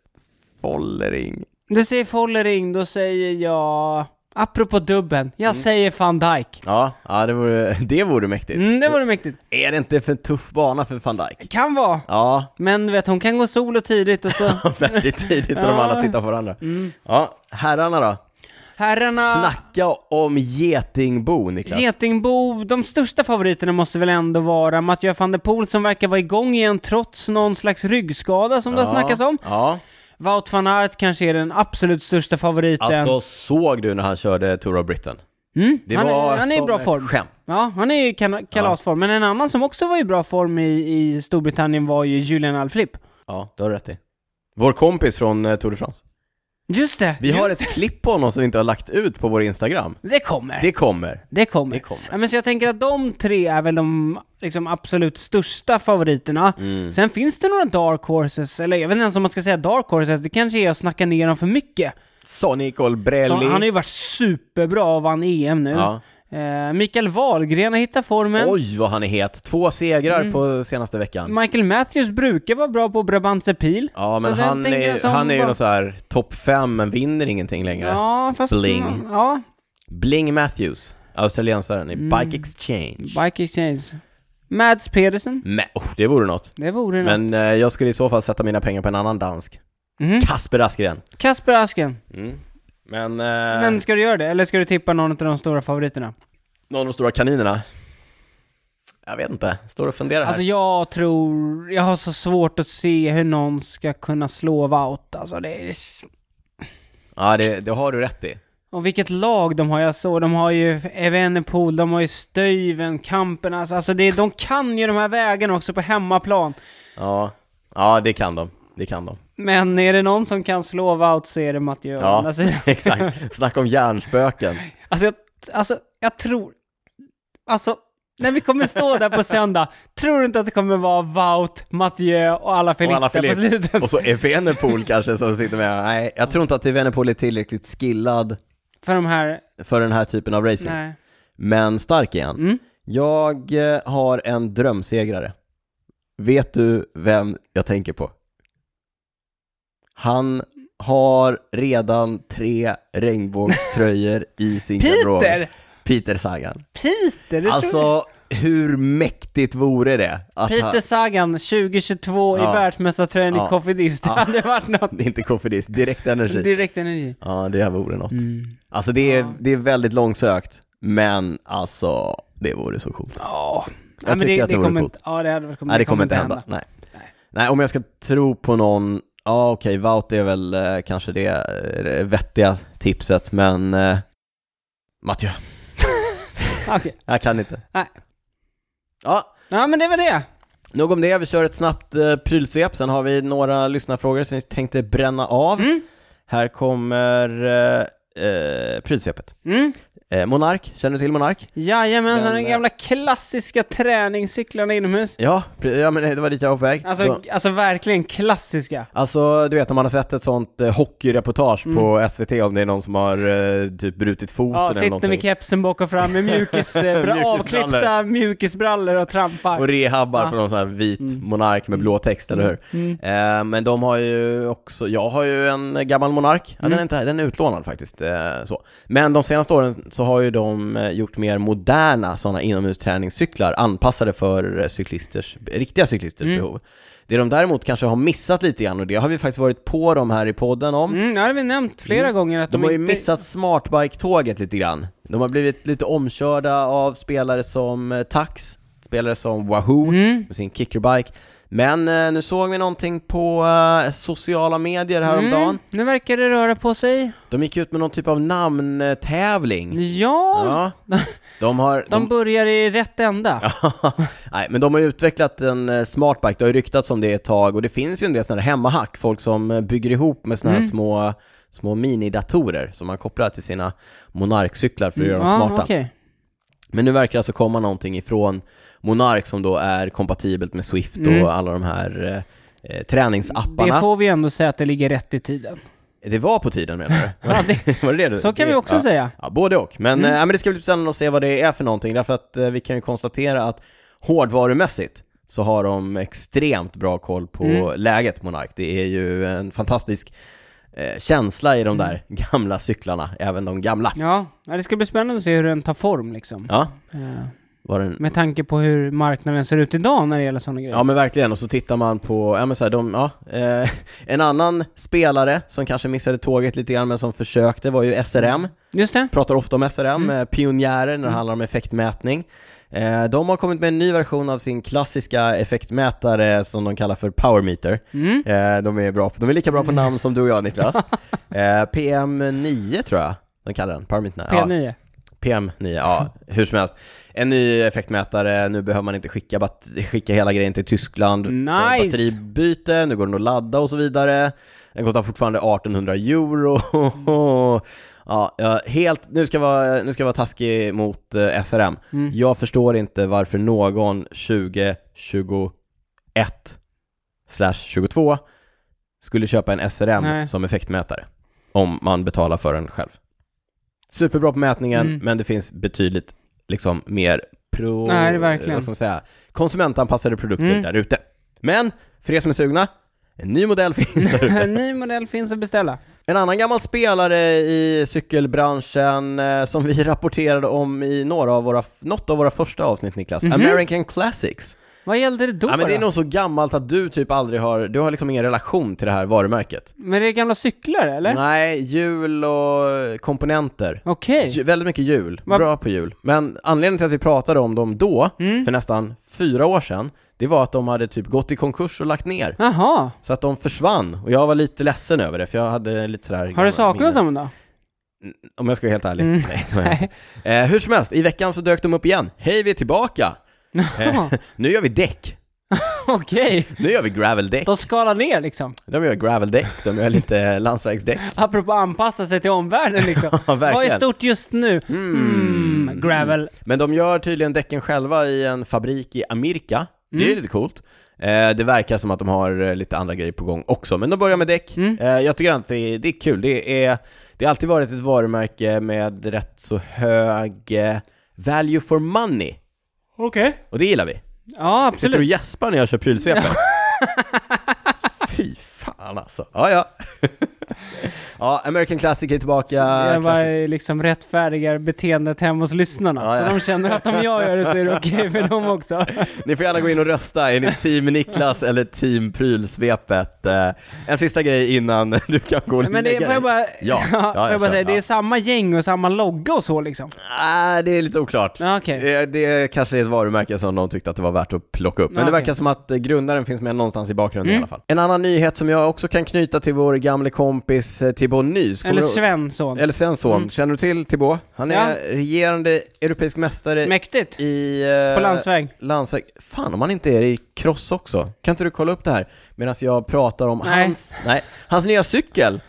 S1: Follering.
S2: Du säger Follering, då säger jag... Apropå dubben, jag
S1: Mm.
S2: säger van Dijk.
S1: Ja, ja det, vore, *laughs* det vore mäktigt.
S2: Mm, det vore mäktigt.
S1: Är det inte för tuff bana för van Dijk?
S2: Kan vara.
S1: Ja, *laughs*
S2: Men du vet, hon kan gå solo tidigt och så...
S1: väldigt tidigt och de
S2: Ja. Mm.
S1: alla tittar på varandra. Ja, herrarna då?
S2: Herrarna...
S1: Snacka om getingbo, Niklas.
S2: Getingbo, de största favoriterna måste väl ändå vara Mathieu van der Poel som verkar vara igång igen trots någon slags ryggskada som det har snackats om.
S1: Ja.
S2: Wout van Aert kanske är den absolut största favoriten.
S1: Alltså, såg du när han körde Tour of Britain?
S2: Mm,
S1: Det
S2: han,
S1: var
S2: är, han är i
S1: som
S2: bra
S1: ett
S2: form.
S1: skämt.
S2: Ja, han är i kan- kalasform. Men en annan som också var i bra form i, i Storbritannien var ju Julian Alaphilippe.
S1: Ja, det har du rätt i. Vår kompis från eh, Tour de France.
S2: Just det!
S1: Vi har ett klipp på honom som vi inte har lagt ut på vår Instagram.
S2: Det kommer. Det,
S1: Det kommer.
S2: kommer.
S1: det kommer.
S2: Ja, men så jag tänker att de tre är väl de liksom, absolut största favoriterna.
S1: Mm.
S2: Sen finns det några dark horses, eller jag vet inte ens om man ska säga dark horses, det kanske är att snacka ner dem för mycket.
S1: Sonny Colbrelli.
S2: Så, han har ju varit superbra och vann EM nu.
S1: Ja.
S2: Eh, Mikael Wahlgren har hittat formen.
S1: Oj, vad han är het. Två segrar
S2: Mm.
S1: på senaste veckan.
S2: Michael Matthews brukar vara bra på Brabantse Pil.
S1: Ja, men
S2: Så den
S1: han
S2: tänker
S1: är,
S2: jag som
S1: han är ju
S2: bara-
S1: någon så här topp fem, men vinner ingenting längre.
S2: Ja, fast...
S1: Bling.
S2: Ja,
S1: Bling Matthews, australiensaren i Bike Exchange.
S2: Mm. Bike Exchange. Mads Pedersen.
S1: Men, oh, det vore något.
S2: Det vore något.
S1: Men eh, jag skulle i så fall sätta mina pengar på en annan
S2: *laughs*
S1: dansk.
S2: Mhm.
S1: Kasper Askren.
S2: Kasper Asken.
S1: Men, eh, Äh.
S2: Men ska du göra det? Eller ska du tippa någon av de stora favoriterna?
S1: Någon av de stora kaninerna? Jag vet inte, står och funderar här.
S2: Alltså jag tror, jag har så svårt att se hur någon ska kunna slå Wout. Alltså det är...
S1: Ja, det, det har du rätt i.
S2: Och vilket lag de har, jag såg, de har ju Evenepoel, de har ju Stöven, Kampen, alltså, alltså det, de kan ju de här vägarna också på hemmaplan.
S1: Ja, ja det kan de. Det kan de. *laughs*
S2: Men är det någon som kan slå Wout så är det Mathieu.
S1: Ja,
S2: Alltså,
S1: exakt. Snacka om hjärnspöken.
S2: alltså, jag, alltså, jag tror... Alltså, när vi kommer stå där på söndag, tror du inte att det kommer vara Wout, Mathieu och alla
S1: Och
S2: Filippa
S1: alla
S2: på slutet?
S1: Filip. Och så Evenepoel kanske som sitter med. Nej, jag tror inte att Evenepoel är tillräckligt skillad
S2: För de här...
S1: för den här typen av racing.
S2: Nej.
S1: Men stark igen.
S2: Mm.
S1: Jag eh, har en drömsegrare. Vet du vem jag tänker på? Han har redan tre regnbågströjor i sin garderob.
S2: Peter!
S1: Peter Sagan.
S2: Peter! Det tror
S1: Alltså, hur mäktigt vore det? Att
S2: jag.
S1: han-
S2: Peter Sagan 2022
S1: Ja.
S2: i världsmästartröjan
S1: Ja.
S2: i Cofidis. Det
S1: Ja.
S2: hade varit
S1: *laughs*
S2: något.
S1: Det är inte koffeidist, direkt energi.
S2: Direkt energi.
S1: Ja, det här vore
S2: Mm.
S1: något. Alltså det är, det är väldigt långsökt, men alltså det vore så coolt.
S2: Ja.
S1: Jag tycker att det vore
S2: kommer
S1: coolt.
S2: inte- Ja, det hade varit
S1: Nej, det kommer inte hända. Nej. Nej, om jag ska tro på någon, ja okej, Wout är väl eh, kanske det eh, vettiga tipset, men eh, Mathieu,
S2: Okej.
S1: jag kan inte.
S2: Nej.
S1: Ja,
S2: Ja, men det var det.
S1: nog om det. Vi kör ett snabbt eh, prylsvep, sen har vi några lyssnarfrågor som vi tänkte bränna av.
S2: Mm.
S1: Här kommer eh, eh, prylsvepet.
S2: Mm.
S1: Eh, Monark, känner du till Monark?
S2: Jajamän,
S1: Men,
S2: de
S1: eh,
S2: gamla klassiska träningscyklarna inomhus.
S1: Ja, pre- ja men det var dit jag var på väg. Så-
S2: Alltså, alltså verkligen klassiska.
S1: Alltså, du vet när man har sett ett sånt eh, hockeyreportage på SVT om det är någon som har eh, typ brutit foten
S2: Mm. Ja,
S1: eller
S2: sitter
S1: någonting.
S2: med kepsen bak och fram med
S1: *laughs*
S2: mjukis, eh, bra
S1: Mjukisbrallor.
S2: avklippta mjukisbrallor och trampar.
S1: Och rehabbar
S2: Ja.
S1: på någon sån här vit monark med blå text, eller hur?
S2: Mm.
S1: Eh, men de har ju också, jag har ju en gammal monark, ja,
S2: Mm.
S1: den, är inte, här, den är utlånad faktiskt. Eh, så. Men de senaste åren så har ju de eh, gjort mer moderna sådana inomhusträningscyklar anpassade för eh, cyklisters, riktiga cyklisters
S2: Mm.
S1: behov. Det de däremot kanske har missat lite grann, och det har vi faktiskt varit på dem här i podden om,
S2: Mm, det har vi nämnt flera
S1: Mm.
S2: gånger att de,
S1: De har ju
S2: inte...
S1: missat smartbike-tåget lite grann. De har blivit lite omkörda av spelare som eh, Tax, spelare som Wahoo
S2: Mm.
S1: med sin kickerbike. Men eh, nu såg vi någonting på eh, sociala medier häromdagen.
S2: Mm. Nu verkar det röra på sig.
S1: De gick ut med någon typ av namntävling.
S2: Ja, *laughs*
S1: Ja, de har...
S2: de
S1: De,
S2: börjar i rätt ända.
S1: *laughs* nej, men de har ju utvecklat en eh, smartbike, det har ju ryktats om det ett tag och det finns ju en del sådana här hemmahack, folk som eh, bygger ihop med
S2: Mm.
S1: sådana här små, små minidatorer som man kopplar till sina monarkcyklar för att göra dem
S2: Mm. Ja,
S1: smarta.
S2: okej.
S1: Men nu verkar det alltså komma någonting ifrån Monark som då är kompatibelt med Swift
S2: Mm.
S1: och alla de här eh, eh,
S2: Det
S1: träningsapparna. Det,
S2: får vi ändå säga att det ligger rätt
S1: *laughs*
S2: i tiden.
S1: var på tiden menar
S2: *laughs*
S1: du?
S2: Ja, det,
S1: var det det du?
S2: så kan
S1: det,
S2: vi också
S1: ja.
S2: säga.
S1: Ja, både och. Men, eh, ja, men det ska bli spännande att se vad det är för någonting, därför att eh, vi kan ju konstatera att hårdvarumässigt så har de extremt bra koll på
S2: Mm.
S1: läget, Monark. Det är ju en fantastisk eh, känsla i de där *laughs* gamla cyklarna, även de gamla.
S2: Ja, ja, det ska bli spännande att se hur den tar form liksom.
S1: Ja,
S2: Eh,
S1: var det en
S2: Med tanke på hur marknaden ser ut idag när det gäller sådana grejer.
S1: Ja men verkligen, och så tittar man på, ja men så här, de, ja, eh, *laughs* en annan spelare som kanske missade tåget lite grann men som försökte var ju SRM,
S2: Just det.
S1: pratar ofta om SRM, eh, pionjärer när det handlar om effektmätning. Eh, de har kommit med en ny version av sin klassiska effektmätare som de kallar för Power Meter.
S2: Mm.
S1: Eh, de, är bra på, de är lika bra på namn som du och jag Niklas. Eh, PM9 tror jag de kallar den, Power Meter. Ja. Mm.
S2: P9.
S1: PM9, ja, hur som helst. En ny effektmätare, nu behöver man inte skicka, bat- skicka hela grejen till Tyskland för
S2: Nice.
S1: batteribyte, nu går den att ladda och så vidare. Den kostar fortfarande 1800 euro. *laughs* Ja, jag- helt, nu ska jag vara, nu ska jag vara taskig mot eh, SRM.
S2: Mm.
S1: Jag förstår inte varför någon 2021 slash 22 skulle köpa en SRM
S2: Nej.
S1: som effektmätare om man betalar för den själv. Superbra på mätningen,
S2: Mm.
S1: men det finns betydligt liksom, mer pro,
S2: Nej, det är verkligen.
S1: vad ska man säga, konsumentanpassade produkter
S2: Mm.
S1: där ute. Men, för er som är sugna, en ny modell finns
S2: *laughs*
S1: där ute.
S2: En ny modell finns att beställa.
S1: En annan gammal spelare i cykelbranschen eh, som *laughs* vi rapporterade om i några av våra, något av våra första avsnitt Niklas, American Classics.
S2: Vad gällde det Mhm. då?
S1: Ja, men det är
S2: då?
S1: nog så gammalt att du typ aldrig har, du har liksom ingen relation till det här varumärket.
S2: Men det är gamla cyklar eller?
S1: Nej, hjul och komponenter.
S2: Okej.
S1: Ju- Väldigt mycket hjul,
S2: Va-
S1: bra på hjul. Men anledningen till att vi pratade om dem då,
S2: Mm. Mhm.
S1: för nästan fyra år sedan, det var att de hade typ gått i konkurs och lagt ner.
S2: Jaha.
S1: Så att de försvann, och jag var lite ledsen över det, för jag hade lite sådär...
S2: Har
S1: gamla
S2: du saknat
S1: minnen.
S2: dem då? *laughs*
S1: Om jag ska vara helt ärlig. Nej, det var jag inte. Eh, hur som helst, i veckan så dök de upp igen. Hej, vi är tillbaka! Eh, nu gör vi däck.
S2: Okej.
S1: Nu gör vi graveldäck.
S2: De skalar ner liksom.
S1: De gör graveldäck, de gör lite landsvägsdäck.
S2: Apropå anpassa sig till omvärlden liksom.
S1: Ja,
S2: Vad
S1: *laughs*
S2: är
S1: verkligen.
S2: stort just nu? Mm. Gravel.
S1: Men de gör tydligen däcken själva i en fabrik i Amerika. Det är ju lite coolt. Eh, det verkar som att de har eh, lite andra grejer på gång också, men de börjar med däck. Eh, jag tycker att det, det är kul. Det, är, det har alltid varit ett varumärke med rätt så hög eh, value for money.
S2: Okej.
S1: Och det gillar vi.
S2: Ja,
S1: Sitter du
S2: absolut.
S1: och gäspar när jag kör prylsvepet?
S2: *laughs*
S1: Fy fan alltså. Ja, ja. *laughs* ja, American Classic är tillbaka.
S2: Jag
S1: Classic-
S2: var liksom rättfärdigar beteendet hemma hos lyssnarna.
S1: Ja, ja.
S2: Så de känner att om jag gör det så är det
S1: *laughs*
S2: okej för dem också.
S1: Ni får gärna gå in och rösta, är ni team
S2: *laughs*
S1: Niklas eller team prylsvepet? Eh, En sista grej innan du kan gå och
S2: Men det,
S1: lägga
S2: får jag
S1: dig.
S2: bara,
S1: Ja,
S2: *laughs*
S1: ja,
S2: får jag
S1: jag
S2: bara
S1: kör,
S2: säga, det
S1: ja.
S2: är samma gäng och samma logga och så liksom.
S1: Ah, det är lite oklart.
S2: Ja, Okej.
S1: Det, det kanske är ett varumärke som någon tyckte att det var värt att plocka upp. Men
S2: Ja,
S1: det
S2: okej. Mm.
S1: verkar som att eh, grundaren finns med någonstans i bakgrunden i alla fall. En annan nyhet som jag också kan knyta till vår gamle kompis eh, Thibaut Nys. Kommer
S2: Eller
S1: du-
S2: Svensson.
S1: Eller Svensson. Känner du till Thibaut? Han är
S2: Mm. Ja.
S1: regerande europeisk mästare
S2: Mäktigt.
S1: i... eh,
S2: På landsväg.
S1: Landsväg. Fan om han inte är i cross också. Kan inte du kolla upp det här? Medan jag pratar om
S2: Nej.
S1: hans... Nej. Hans nya cykel.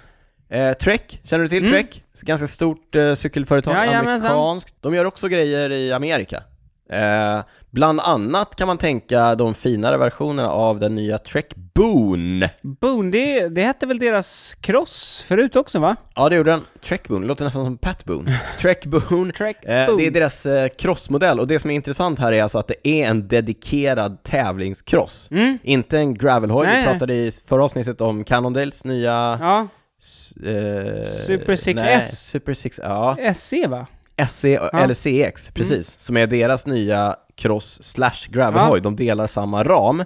S1: Eh, Trek, känner du till Trek? Ganska stort eh, cykelföretag,
S2: Mm. Jajamensan.
S1: amerikanskt. De gör också grejer i Amerika. Eh, bland annat kan man tänka de finare versionerna av den nya Trek Boon.
S2: Boon, det, det hette väl deras cross förut också va?
S1: Ja, det gjorde den. Trek Boon, låter nästan som Pat
S2: *laughs*
S1: Boon. Trek Boon.
S2: Trek
S1: Eh,
S2: Boon.
S1: det är deras eh, crossmodell och det som är intressant här är alltså att det är en dedikerad tävlingscross. Inte en gravelhoj.
S2: Mm. Nej,
S1: Vi
S2: nej.
S1: pratade i förra avsnittet om Cannondales nya...
S2: Ja,
S1: s- Eh,
S2: Super 6S.
S1: nej, Super 6S, ja.
S2: SE E, va?
S1: SC eller CX,
S2: Mm.
S1: precis. Som är deras nya cross slash gravelhoj. De delar samma ram.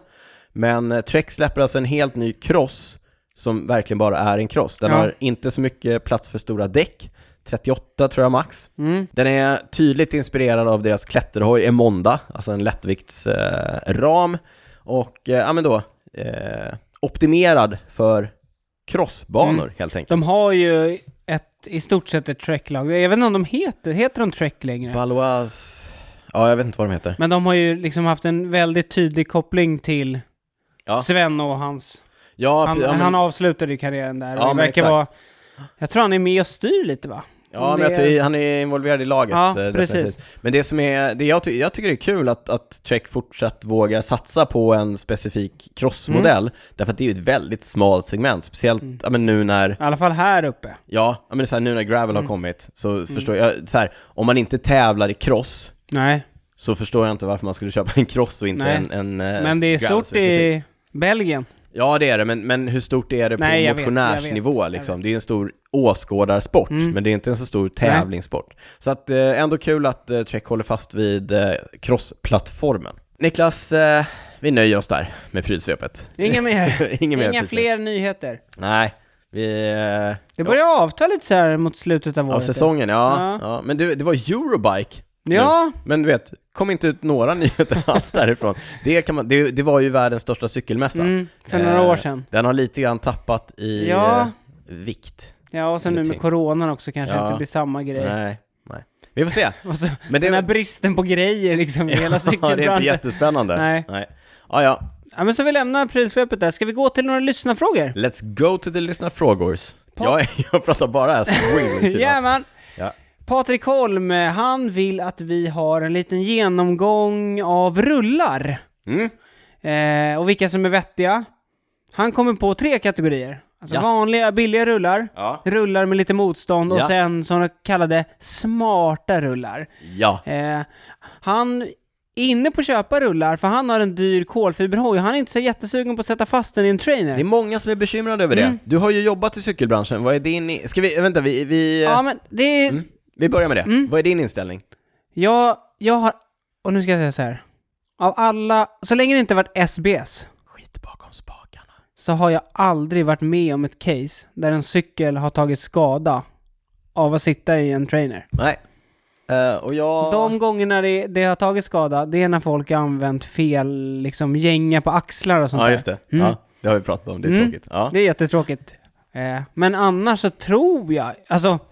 S1: Men eh, Trek släpper alltså en helt ny cross som verkligen bara är en cross. Den
S2: Ja.
S1: har inte så mycket plats för stora däck. 38 tror jag max.
S2: Mm.
S1: Den är tydligt inspirerad av deras klätterhoj Emonda, alltså en lättviktsram. Eh, ram. och, eh, ja men då, eh, optimerad för crossbanor
S2: Mm.
S1: helt enkelt.
S2: De har ju ett, i stort sett ett tracklag. Jag vet inte om de heter, heter de track längre?
S1: Balois... Ja, jag vet inte vad de heter.
S2: Men de har ju liksom haft en väldigt tydlig koppling till
S1: Ja.
S2: Sven och hans...
S1: Ja,
S2: Han,
S1: pre- ja, men-
S2: han avslutade ju karriären där.
S1: Ja,
S2: och det
S1: men
S2: verkar
S1: exakt.
S2: vara... Jag tror han är med och styr lite va?
S1: Ja, men
S2: Om
S1: jag
S2: det är-
S1: tycker, han är involverad i laget.
S2: Ja,
S1: eh,
S2: precis.
S1: definitivt. Men det som är, det jag, ty jag tycker det är kul att, att Trek fortsatt vågar satsa på en specifik crossmodell,
S2: Mm.
S1: därför att det är ju ett väldigt smalt segment, speciellt ja, men nu när,
S2: I alla fall här uppe.
S1: ja, ja, men så här, nu när gravel
S2: Mm.
S1: har kommit, så förstår jag, eh, så här, om man inte tävlar i cross,
S2: Nej,
S1: så förstår jag inte varför man skulle köpa en cross och inte
S2: Nej.
S1: en, en eh,
S2: men det är
S1: gravel
S2: stort
S1: specifikt.
S2: i Belgien.
S1: Ja det är det, men, men hur stort är det på
S2: Nej, jag vet, jag
S1: motionärsnivå
S2: vet, Mm. jag
S1: liksom? Det är en stor åskådarsport, men det är inte en så stor tävlingssport. Så att eh, ändå kul att eh, Trek håller fast vid eh, crossplattformen. Niklas, eh, vi nöjer oss där med prylsvepet.
S2: Inga mer.
S1: *laughs* Ingen mer
S2: Inga
S1: prylsvep.
S2: fler nyheter.
S1: Nej, vi... Eh,
S2: Det börjar avta lite så här mot slutet av
S1: av
S2: året.
S1: säsongen, ja.
S2: Ja.
S1: ja. Men du, det var Eurobike.
S2: Ja.
S1: nu. Men du vet, kom inte ut några *laughs* nyheter alls därifrån. Det, kan man, det, det var ju världens största cykelmässa.
S2: Mm, för några
S1: Eh,
S2: år sedan.
S1: Den har lite grann tappat i
S2: Ja.
S1: eh, vikt.
S2: Ja, och sen nu med
S1: Ingenting.
S2: coronan också kanske
S1: Ja.
S2: inte blir samma grej.
S1: Nej, nej. Vi får se.
S2: Och så,
S1: Men det,
S2: den här bristen på grejer liksom i
S1: *laughs*
S2: hela
S1: Ja, det är inte
S2: cykelbranschen.
S1: jättespännande.
S2: Nej.
S1: Ja, ja.
S2: Ja, men så vi lämnar prylsvepet där. Ska vi gå till några lyssnarfrågor?
S1: Let's go to the lyssnarfrågors. Jag, *laughs* jag pratar
S2: *laughs*
S1: bara swing yeah.
S2: Jajamän!
S1: Ja.
S2: Patrik Holm, eh, han vill att vi har en liten genomgång av rullar.
S1: mm.
S2: Eh, och vilka som är vettiga. Han kommer på tre kategorier. Alltså
S1: Ja.
S2: vanliga, billiga rullar.
S1: Ja.
S2: Rullar med lite motstånd och
S1: Ja.
S2: sen sådana kallade smarta rullar.
S1: Ja.
S2: Eh, han är inne på att köpa rullar för han har en dyr kolfiberhoj och han är inte så jättesugen på att sätta fast den i en trainer.
S1: Det är många som är bekymrade över det.
S2: Mm.
S1: Du har ju jobbat i cykelbranschen. Vad är din... i- Ska vi... Vänta, vi... Vi, eh,
S2: Ja, men det är...
S1: Mm.
S2: Mm.
S1: vi börjar med det. Vad är din inställning?
S2: Jag, jag har... Och nu ska jag säga så här. Av alla, så länge det inte varit SBS,
S1: Skit bakom spakarna.
S2: så har jag aldrig varit med om ett case där en cykel har tagit skada av att sitta i en trainer.
S1: Nej. Eh, och jag...
S2: De gångerna det, det har tagit skada, det är när folk har använt fel liksom, gänga på axlar och sånt
S1: Ja,
S2: där.
S1: just det. Ja, det har vi pratat om. Det är
S2: Mm.
S1: tråkigt. Ja.
S2: Det är jättetråkigt. Eh, men annars så tror jag, alltså, *laughs*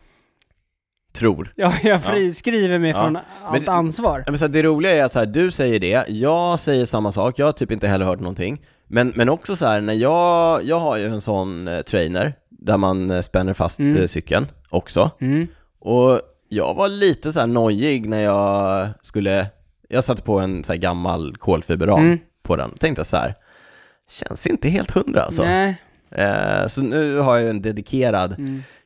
S1: Tror.
S2: jag, jag friskriver mig
S1: Ja.
S2: från
S1: Men
S2: allt
S1: det-
S2: ansvar.
S1: Ja, Men så här, det roliga är att så här, du säger det, jag säger samma sak, jag har typ inte heller hört någonting. Men, men också så här, när jag, jag har ju en sån eh, trainer där man eh, spänner fast eh, cykeln också.
S2: Mm.
S1: Och jag var lite så här nojig när jag skulle, jag satte på en så här gammal kolfiberram
S2: Mm.
S1: på den. Tänkte så här, känns inte helt hundra alltså.
S2: Nej,
S1: Eh, så nu har jag ju en dedikerad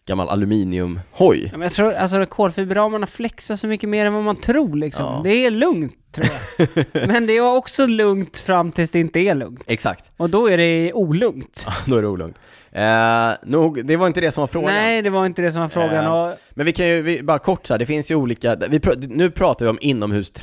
S1: gammal aluminiumhoj.
S2: Mm. Ja, men jag tror, alltså kolfiberramarna flexar så mycket mer än vad man tror liksom. Det är lugnt, tror
S1: *laughs*
S2: jag. men det är också lugnt fram tills det inte är lugnt.
S1: Exakt.
S2: Och då är det olugnt.
S1: *laughs* Då är det olugnt. Eh, nog, det var inte det som var frågan.
S2: Nej, det var inte det som var frågan.
S1: Eh,
S2: Och,
S1: Men vi kan ju, vi, bara kort så här, det finns ju olika, vi, pr- nu pratar vi om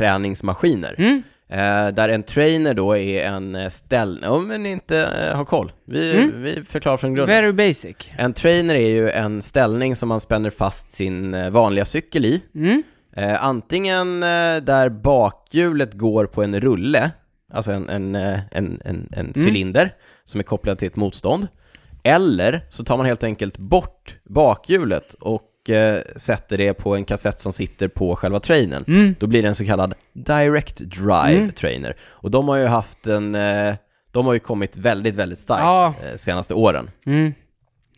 S1: inomhusträningsmaskiner. Eh, där en trainer då är en eh, ställ... Om ni inte eh, har koll, vi, vi förklarar från grunden.
S2: very basic.
S1: En trainer är ju en ställning som man spänner fast sin eh, vanliga cykel i.
S2: Mm.
S1: Eh, antingen eh, där bakhjulet går på en rulle, alltså en, en, eh, en, en, en
S2: Mm.
S1: cylinder som är kopplad till ett motstånd. Eller så tar man helt enkelt bort bakhjulet och eh, sätter det på en kassett som sitter på själva trainern.
S2: Mm.
S1: Då blir det en så kallad direct drive trainer. Och de har ju haft en, eh, de har ju kommit väldigt, väldigt starkt
S2: Ja.
S1: eh, senaste åren.
S2: Mm.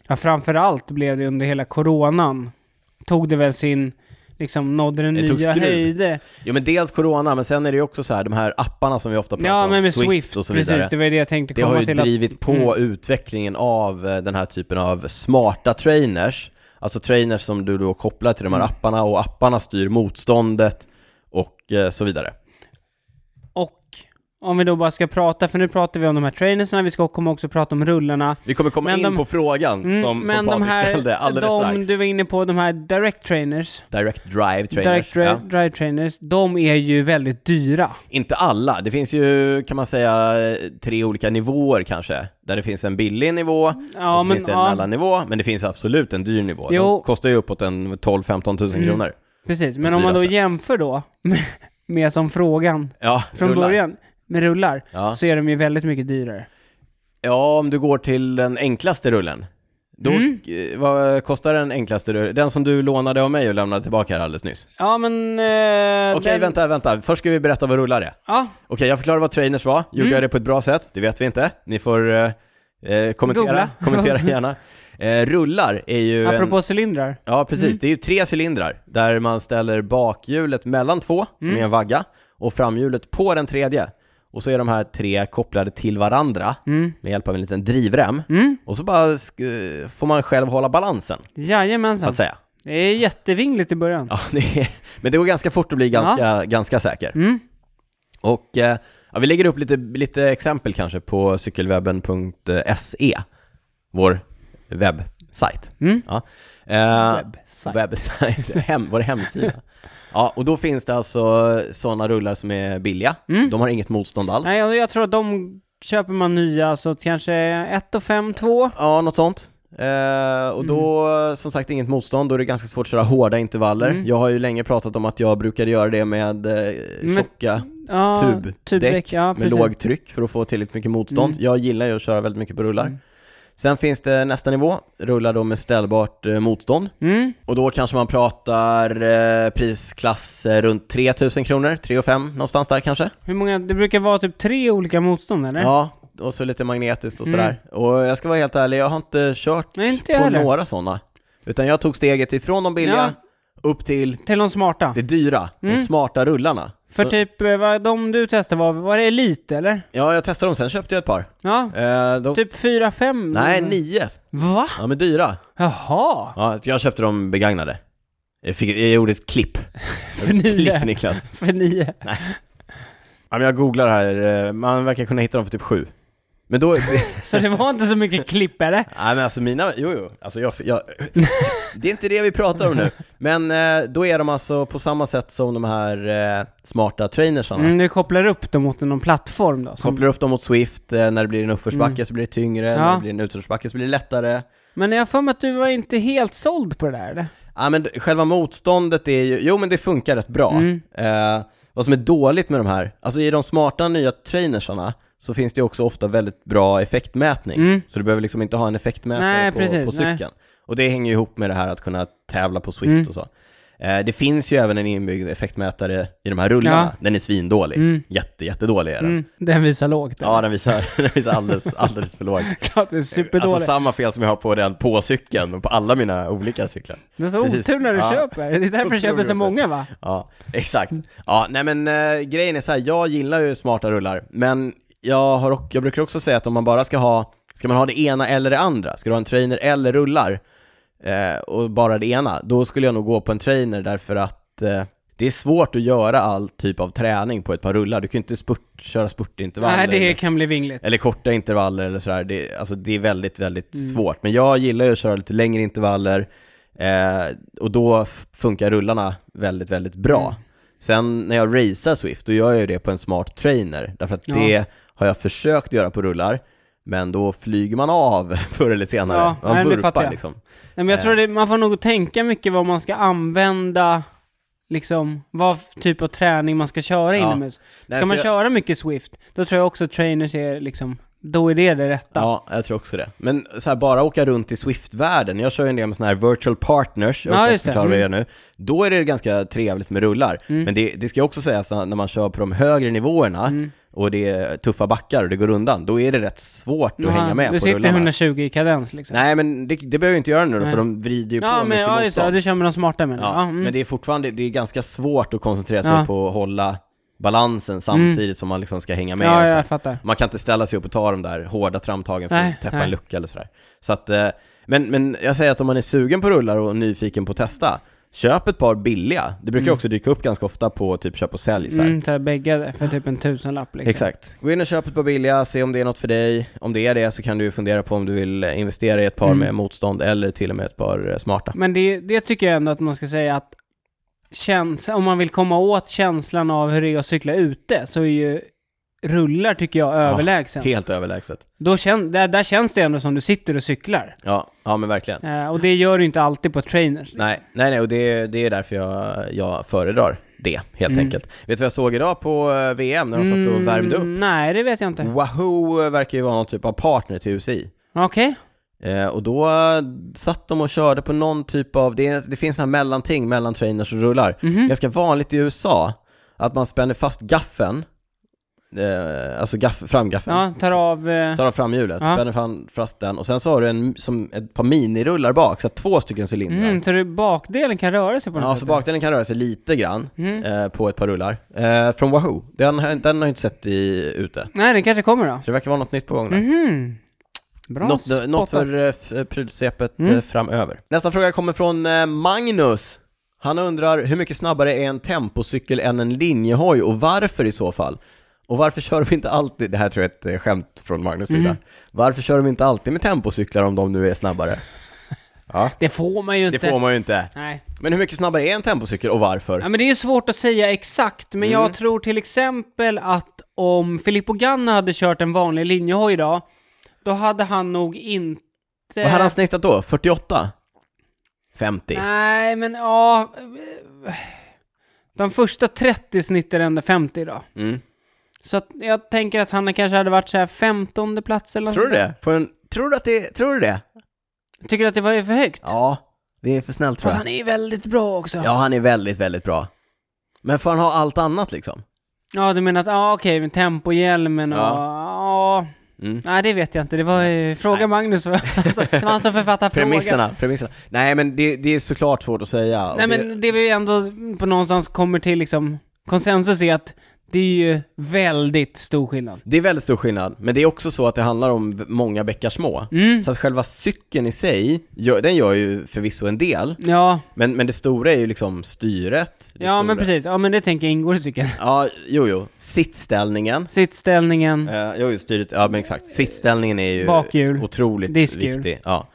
S2: Ja, framförallt blev det under hela coronan. Tog det väl sin, liksom nådde den
S1: Det tog
S2: nya
S1: skruv.
S2: höjder.
S1: Jo men dels corona, men sen är det ju också så här, de här apparna som vi ofta pratar
S2: Ja,
S1: om,
S2: men med
S1: Swift,
S2: Swift,
S1: och så vidare.
S2: precis. Det var ju det jag tänkte
S1: Det
S2: komma
S1: har ju
S2: till. Att, Mm.
S1: drivit på utvecklingen av eh, den här typen av smarta trainers. Alltså trainers som du då kopplar till de
S2: Mm.
S1: här apparna och apparna styr motståndet och eh, så vidare.
S2: och om vi då bara ska prata, för nu pratar vi om de här trainersna, vi ska komma också prata om rullarna.
S1: Vi kommer komma
S2: Men
S1: in
S2: de-
S1: på frågan
S2: Mm,
S1: som,
S2: men
S1: som Patrik
S2: de här,
S1: ställde alldeles
S2: de
S1: strax.
S2: du var inne på, de här direct trainers,
S1: Direct drive trainers.
S2: direct dri-
S1: ja.
S2: drive trainers, de är ju väldigt dyra.
S1: Inte alla, det finns ju kan man säga eh, tre olika nivåer kanske. Där det finns en billig nivå,
S2: Ja,
S1: och så
S2: men,
S1: finns det en
S2: ja.
S1: mellannivå, men det finns absolut en dyr nivå.
S2: Jo. Mm.
S1: De kostar ju uppåt en 12-15 tusen kronor.
S2: Precis, men om man då
S1: dyraste.
S2: jämför då *laughs* med, med som frågan
S1: Ja,
S2: från
S1: rullar.
S2: början med rullar,
S1: Ja.
S2: så är de ju väldigt mycket dyrare.
S1: Ja, om du går till den enklaste rullen. Då,
S2: Mm.
S1: eh, Vad kostar den enklaste rullen? Den som du lånade av mig och lämnade tillbaka här alldeles nyss.
S2: Ja men... Eh,
S1: Okej,
S2: den-
S1: vänta, vänta. Först ska vi berätta vad rullar är.
S2: Ja,
S1: Okej, jag förklarar vad trainers var. Gjorde
S2: Mm.
S1: jag det på ett bra sätt? Det vet vi inte. Ni får eh, eh, kommentera,
S2: Googla.
S1: kommentera
S2: *laughs*
S1: gärna. Eh, rullar är ju... en-
S2: apropå cylindrar.
S1: Ja, precis. Det är ju tre cylindrar där man ställer bakhjulet mellan två, som är en vagga, och framhjulet på den tredje. Och så är de här tre kopplade till varandra med hjälp av en liten drivrem.
S2: Mm?
S1: Och så bara sk- får man själv hålla balansen, så
S2: Jajamensan.
S1: att säga.
S2: Det är jättevingligt i början.
S1: Ja, *laughs* det är, men det går ganska fort att bli ganska, ganska säker. Och eh, ja, vi lägger upp lite, lite exempel kanske på cykelwebben.se, vår webbsajt.
S2: Mm.
S1: Ja. Eh,
S2: Website.
S1: webbsajt, *laughs* hem, vår hemsida. Ja, och då finns det alltså sådana rullar som är billiga. De har inget motstånd alls.
S2: Nej, och jag tror att de köper man nya, så att kanske 1 och 5, 2.
S1: Ja, något sånt. Eh, och då, som sagt, inget motstånd. Då är det ganska svårt att köra hårda intervaller. Jag har ju länge pratat om att jag brukade göra det med eh, tjocka
S2: Ja,
S1: tubdäck Mm.
S2: ja,
S1: med
S2: precis.
S1: låg tryck för att få tillräckligt mycket motstånd. Jag gillar ju att köra väldigt mycket på rullar. Sen finns det nästa nivå, rullar då med ställbart eh, motstånd.
S2: Mm.
S1: Och då kanske man pratar eh, prisklass eh, runt 3000 kronor, 3 5 någonstans där kanske.
S2: Hur många, det brukar vara typ tre olika motstånd eller?
S1: Ja, och så lite magnetiskt och sådär. Och jag ska vara helt ärlig, jag har inte kört
S2: Nej, Mm. inte jag
S1: på
S2: heller.
S1: några sådana. Utan jag tog steget ifrån de billiga upp till
S2: Till de smarta.
S1: det dyra,
S2: Mm.
S1: de smarta rullarna.
S2: För
S1: Så-
S2: typ, eh, vad de du testade var, var det Elite eller?
S1: Ja, jag testade dem, sen köpte jag ett par.
S2: Ja,
S1: Eh, de...
S2: typ 4, 5?
S1: Nej, nio.
S2: Va?
S1: Ja, men dyra.
S2: Jaha!
S1: Ja, jag köpte dem begagnade. Jag, fick, jag gjorde ett klipp.
S2: *laughs* För
S1: Klipp,
S2: nio.
S1: Niklas.
S2: För nio.
S1: Ja, men jag googlar här. eh, Man verkar kunna hitta dem för typ sju. Men då... *laughs*
S2: Så det var inte så mycket klipp eller?
S1: Nej men alltså mina, jo jo, alltså jag, jag *laughs* det är inte det vi pratar om nu. Men eh, då är de alltså på samma sätt som de här eh, smarta trainersarna.
S2: Mm, du kopplar upp dem mot någon plattform då? Som...
S1: Kopplar upp dem mot Swift, eh, när det blir en uppförsbacke så blir det tyngre, när
S2: Mm. Ja.
S1: det blir en utförsbacke så blir det lättare.
S2: Men jag har för mig att du var inte helt såld på det där eller?
S1: Ja men d- själva motståndet är ju, jo men det funkar rätt bra.
S2: Mm.
S1: Eh, vad som är dåligt med de här, alltså i de smarta nya trainersarna så finns det ju också ofta väldigt bra effektmätning. Så du behöver liksom inte ha en effektmätare
S2: Mm. Nej,
S1: på,
S2: precis,
S1: på
S2: nej. Mm.
S1: cykeln. Och det hänger ju ihop med det här att kunna tävla på Swift och så. Eh, det finns ju även en inbyggd effektmätare i de här rullarna.
S2: Ja.
S1: Den är svindålig. Jätte, jättedålig är den.
S2: Mm, den visar lågt. *laughs*
S1: Ja, den visar, *laughs* den visar alldeles, alldeles för låg.
S2: Klart det är superdålig.
S1: Alltså samma fel som jag har på den på cykeln och på alla mina olika cyklar.
S2: du har så
S1: precis.
S2: otur när du
S1: Ja.
S2: köper. Det är därför du
S1: Otrolig
S2: köper så
S1: otur.
S2: många va?
S1: Ja, exakt. Ja, nej men eh, grejen är så här, jag gillar ju smarta rullar, men jag, har, ock- jag brukar också säga att om man bara ska ha, ska man ha det ena eller det andra, ska du ha en trainer eller rullar eh, och bara det ena, då skulle jag nog gå på en trainer därför att eh, det är svårt att göra all typ av träning på ett par rullar. Du kan ju inte spurt, köra spurtintervaller.
S2: Nej, det
S1: eller-
S2: kan bli vingligt.
S1: eller korta intervaller eller sådär. Det, alltså, det är väldigt, väldigt
S2: Mm.
S1: svårt. Men jag gillar ju att köra lite längre intervaller eh, och då f- funkar rullarna väldigt, väldigt bra.
S2: Mm.
S1: Sen när jag racear Swift, då gör jag ju det på en smart trainer. Därför att
S2: Ja.
S1: det har jag försökt göra på rullar, men då flyger man av *laughs* förr eller senare.
S2: Ja,
S1: man
S2: nej, det fattar
S1: vurpar
S2: jag.
S1: liksom.
S2: Nej, men jag tror det, man får nog tänka mycket vad man ska använda, liksom, vad f- typ av träning man ska köra
S1: Ja.
S2: inomhus. Ska
S1: Nej, så
S2: man
S1: jag-
S2: köra mycket Swift, då tror jag också att trainers är liksom, då är det det rätta.
S1: Ja, jag tror också det. Men så här, bara åka runt i Swift-världen, jag kör ju en del med sådana här virtual partners, jag
S2: Ja,
S1: ja,
S2: just det. Mm.
S1: förklara vad det är nu. Då är det ganska trevligt med rullar. Men det, det ska jag också sägas, när när man kör på de högre nivåerna
S2: Mm.
S1: och det är tuffa backar och det går undan, då är det rätt svårt att
S2: Jaha,
S1: hänga med
S2: du
S1: på
S2: sitter
S1: rullarna.
S2: 120 i kadens liksom.
S1: Nej, men det, det behöver jag inte göra nu då, för de vrider ju
S2: ja,
S1: på
S2: men
S1: mycket
S2: ja, just det, Ja,
S1: motstånd.
S2: du kör med de smarta men.
S1: Ja,
S2: Ja, mm.
S1: Men det är fortfarande det är ganska svårt att koncentrera sig
S2: Ja. Mm.
S1: på att hålla balansen samtidigt som man liksom ska hänga med. och
S2: ja,
S1: så här.
S2: jag fattar.
S1: Man kan inte ställa sig upp och ta de där hårda tramtagen för
S2: Nej,
S1: att täppa
S2: nej.
S1: en lucka eller sådär. Så att, eh, men, men jag säger att om man är sugen på rullar och nyfiken på att testa, köp ett par billiga. Det brukar också dyka upp ganska ofta på typ köp och sälj. Så här.
S2: Mm, så här, bägge för typ en tusenlapp liksom.
S1: Exakt. Gå in och köp ett par billiga, se om det är något för dig. Om det är det så kan du fundera på om du vill investera i ett par
S2: Mm.
S1: med motstånd eller till och med ett par eh, smarta.
S2: Men det, det tycker jag ändå att man ska säga att käns- om man vill komma åt känslan av hur det är att cykla ute så är ju rullar tycker jag överlägsen.
S1: Helt överlägset.
S2: Då kän- där, där känns det ändå som du sitter och cyklar.
S1: Ja, ja men verkligen.
S2: Eh, och det gör du inte alltid på trainers.
S1: Nej, nej, nej och det, det är därför jag, jag föredrar det, helt enkelt. Vet du vad jag såg idag på eh, VM när de satt och värmde upp?
S2: Mm. Mm, nej, det vet jag inte.
S1: Wahoo verkar ju vara någon typ av partner till UCI.
S2: Okej.
S1: Eh, och då eh, satt de och körde på någon typ av, det, är- det finns här mellanting mellan trainers och rullar.
S2: Mhm.
S1: Ganska vanligt i USA att man spänner fast gaffen, eh, alltså gaff, framgaffen,
S2: Ja, tar av... Eh,
S1: tar av framhjulet,
S2: Ja.
S1: spänner fram, fast den och sen så har du en, som ett par minirullar bak, så att två stycken cylindrar.
S2: mm, så du bakdelen kan röra sig på Mm. något
S1: Ja,
S2: sätt?
S1: så bakdelen kan röra sig lite grann eh, på ett par rullar. Eh, från Wahoo, den, har- den har jag inte sett i, ute.
S2: Nej, den kanske kommer då.
S1: Så det verkar vara något nytt på gång där.
S2: Mhm. Bra
S1: Något,
S2: spottat. Mm.
S1: något för eh, f- eh, prylsvepet eh, framöver. Nästa fråga kommer från eh, Magnus. Han undrar, hur mycket snabbare är en tempocykel än en linjehoj och varför i så fall? Och varför kör de inte alltid, det här tror jag är ett eh, skämt från Magnus
S2: Mm.
S1: sida, varför kör de inte alltid med tempocyklar om de nu är
S2: *laughs*
S1: snabbare?
S2: Det får man ju
S1: Det
S2: inte.
S1: får man ju inte.
S2: Nej.
S1: Men hur mycket snabbare är en tempocykel och varför?
S2: Ja, men det är ju svårt att säga exakt, men
S1: Mm.
S2: jag tror till exempel att om Filippo Ganna hade kört en vanlig linjehoj idag, då hade han nog inte...
S1: Vad hade han snittat då? 48? 50?
S2: Nej, men ja... De första 30 snittar ändå 50 idag.
S1: Mm.
S2: Så att jag tänker att han kanske hade varit så här 15 plats eller något
S1: Tror du
S2: sånt där.
S1: det? På en... Tror du att det? Tror du det?
S2: Tycker du att det var för högt?
S1: Ja, det är för snällt tror
S2: Fast
S1: jag.
S2: han är ju väldigt bra också.
S1: Ja, han är väldigt, väldigt bra. Men får han ha allt annat liksom?
S2: Ja, du menar att, ja okej, men tempohjälmen och...
S1: Ja.
S2: Ja.
S1: Mm.
S2: Nej, det vet jag inte. Det var ju... Fråga Magnus. *laughs* vad- Alltså, det var han som författade frågan.
S1: Premisserna, premisserna. Nej, men det, det är såklart svårt att säga. och
S2: Nej
S1: det,
S2: men det vi ändå på någonstans kommer till liksom, konsensus är att Det är ju väldigt stor skillnad.
S1: Det är väldigt stor skillnad, men det är också så att det handlar om v- många bäckar små.
S2: Mm.
S1: Så att själva cykeln i sig, gör, den gör ju förvisso en del,
S2: Ja,
S1: men, men det stora är ju liksom styret. Det
S2: ja men
S1: stora-
S2: precis. Ja, men det tänker jag ingår i cykeln. *laughs*
S1: Ja, jo, jo. Sittställningen.
S2: Sittställningen.
S1: Eh, jo, just styret, ja men exakt. Sittställningen är ju
S2: Mm. Bakhjul.
S1: otroligt
S2: Diskhjul.
S1: viktig. Ja.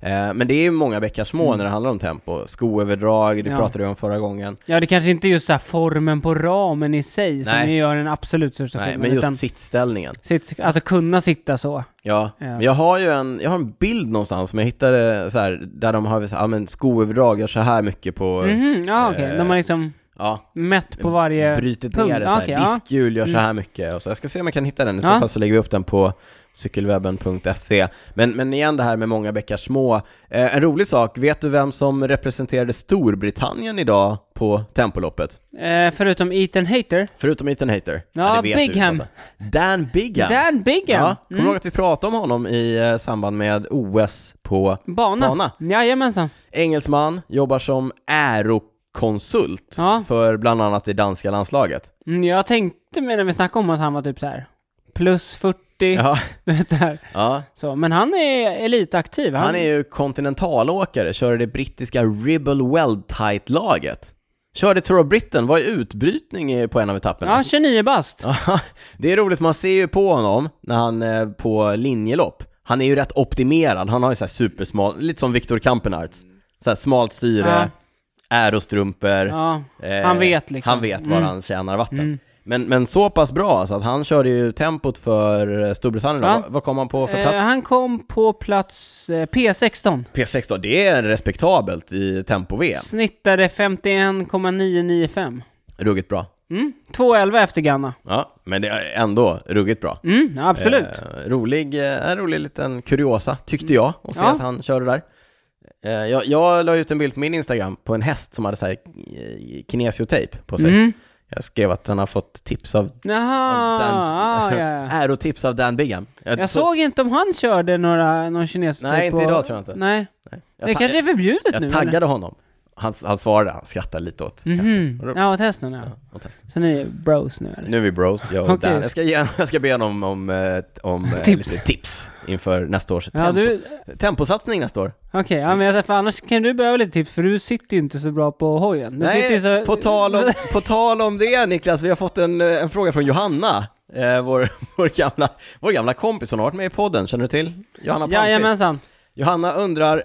S1: Eh, men det är ju många bäckar små när det handlar om tempo. Skoöverdrag, det
S2: Mm. Ja.
S1: pratade vi om förra gången.
S2: Ja, det kanske inte är just så här formen på ramen i sig som
S1: Nej.
S2: ju gör den absolut största
S1: Nej,
S2: skillnaden.
S1: men just
S2: utan
S1: sittställningen.
S2: sitt, alltså kunna sitta så.
S1: Ja,
S2: Ja.
S1: men jag har ju en, jag har en bild någonstans som jag hittade så här, där de har så här, ja, men skoöverdrag gör så här mycket på,
S2: Mhm, ja okej.
S1: Eh.
S2: De har liksom
S1: ja,
S2: mätt på varje
S1: brytit
S2: punkt.
S1: ner det så
S2: Ja,
S1: här,
S2: okej, ja. Mm.
S1: diskhjul gör så här mycket och så. Jag ska se om jag kan hitta den, i så
S2: Ja.
S1: fall så lägger vi upp den på cykelwebben.se. Men, men igen det här med många bäckar små. Eh, en rolig sak, vet du vem som representerade Storbritannien idag på Tempoloppet?
S2: Eh, förutom Ethan Hater.
S1: Förutom Ethan Hater.
S2: Ja,
S1: det vet du,
S2: Bigham.
S1: fattar. Dan Bigham.
S2: Dan Bigham!
S1: Ja, kommer du ihåg att vi pratade om honom i eh, samband med OS på
S2: Bana.
S1: Bana.
S2: Jajamensan.
S1: Engelsman, jobbar som aerokonsult
S2: Ja.
S1: för bland annat det danska landslaget.
S2: Mm, jag tänkte med när vi snackade om att han var typ så här plus 40,
S1: Ja,
S2: *laughs* du vet det här.
S1: ja.
S2: Så, men han är elitaktiv. Han,
S1: Han är ju kontinentalåkare, kör i det brittiska Ribble Weld-tight-laget. Körde Tour of Britain, var i utbrytning i- på en av etapperna.
S2: Ja, 29 bast.
S1: Ja, *laughs* det är roligt, man ser ju på honom när han eh, på linjelopp. Han är ju rätt optimerad, han har ju så här supersmal, lite som Viktor Kampenarts. Så här smalt styre, aerostrumpor.
S2: Ja.
S1: Eh,
S2: Han vet liksom.
S1: Han vet var han tjänar vatten.
S2: Mm.
S1: Men, men så pass bra så att han körde ju tempot för eh, Storbritannien. då.
S2: Ja.
S1: Vad- Vad kom han på för
S2: Eh,
S1: plats?
S2: han kom på plats eh, P16.
S1: P6 då, det är respektabelt i tempo-VM.
S2: Snittade 51,995.
S1: Ruggigt bra.
S2: Mm. 2,11 efter Ganna.
S1: Ja, men det är ändå ruggigt bra.
S2: Mm, absolut.
S1: Eh, rolig, eh, en rolig liten kuriosa, tyckte jag, att se
S2: Ja.
S1: att han körde där. Eh, jag, jag la ut en bild på min Instagram på en häst som hade så här eh, kinesiotejp på sig.
S2: Mm.
S1: Jag skrev att han har fått tips av
S2: Jaha,
S1: Dan,
S2: ah,
S1: *laughs*
S2: ja.
S1: ärotips av Dan Bigham.
S2: Jag såg inte om han körde några, någon kines
S1: Nej,
S2: typ
S1: inte
S2: och-
S1: idag tror jag inte.
S2: Nej,
S1: Jag
S2: det
S1: ta-
S2: kanske är förbjudet nu
S1: Jag
S2: eller?
S1: taggade honom. Han, han svarade, han skrattade lite åt hästen.
S2: Mhm.
S1: Och då-
S2: Ja, åt hästen ja.
S1: ja, åt hästen.
S2: Så ni är bros nu eller?
S1: Nu är vi bros, jag och
S2: Okej.
S1: Dan. Jag ska, ge, *laughs* jag ska be honom om, eh, om eh,
S2: Tips.
S1: lite tips inför nästa års
S2: Ja,
S1: tempo,
S2: du...
S1: temposatsning nästa år.
S2: Okej, ja, men jag, för annars kan du behöva lite tips för du sitter ju inte så bra på hojen. Du sitter
S1: Nej,
S2: ju så...
S1: på,
S2: *laughs*
S1: tal om, på tal om det Niklas, vi har fått en, eh, en fråga från Johanna, eh, vår, *laughs* vår, gamla, vår gamla kompis, hon har varit med i podden, känner du till? Johanna Palmqvist.
S2: Jajamensan.
S1: Johanna undrar,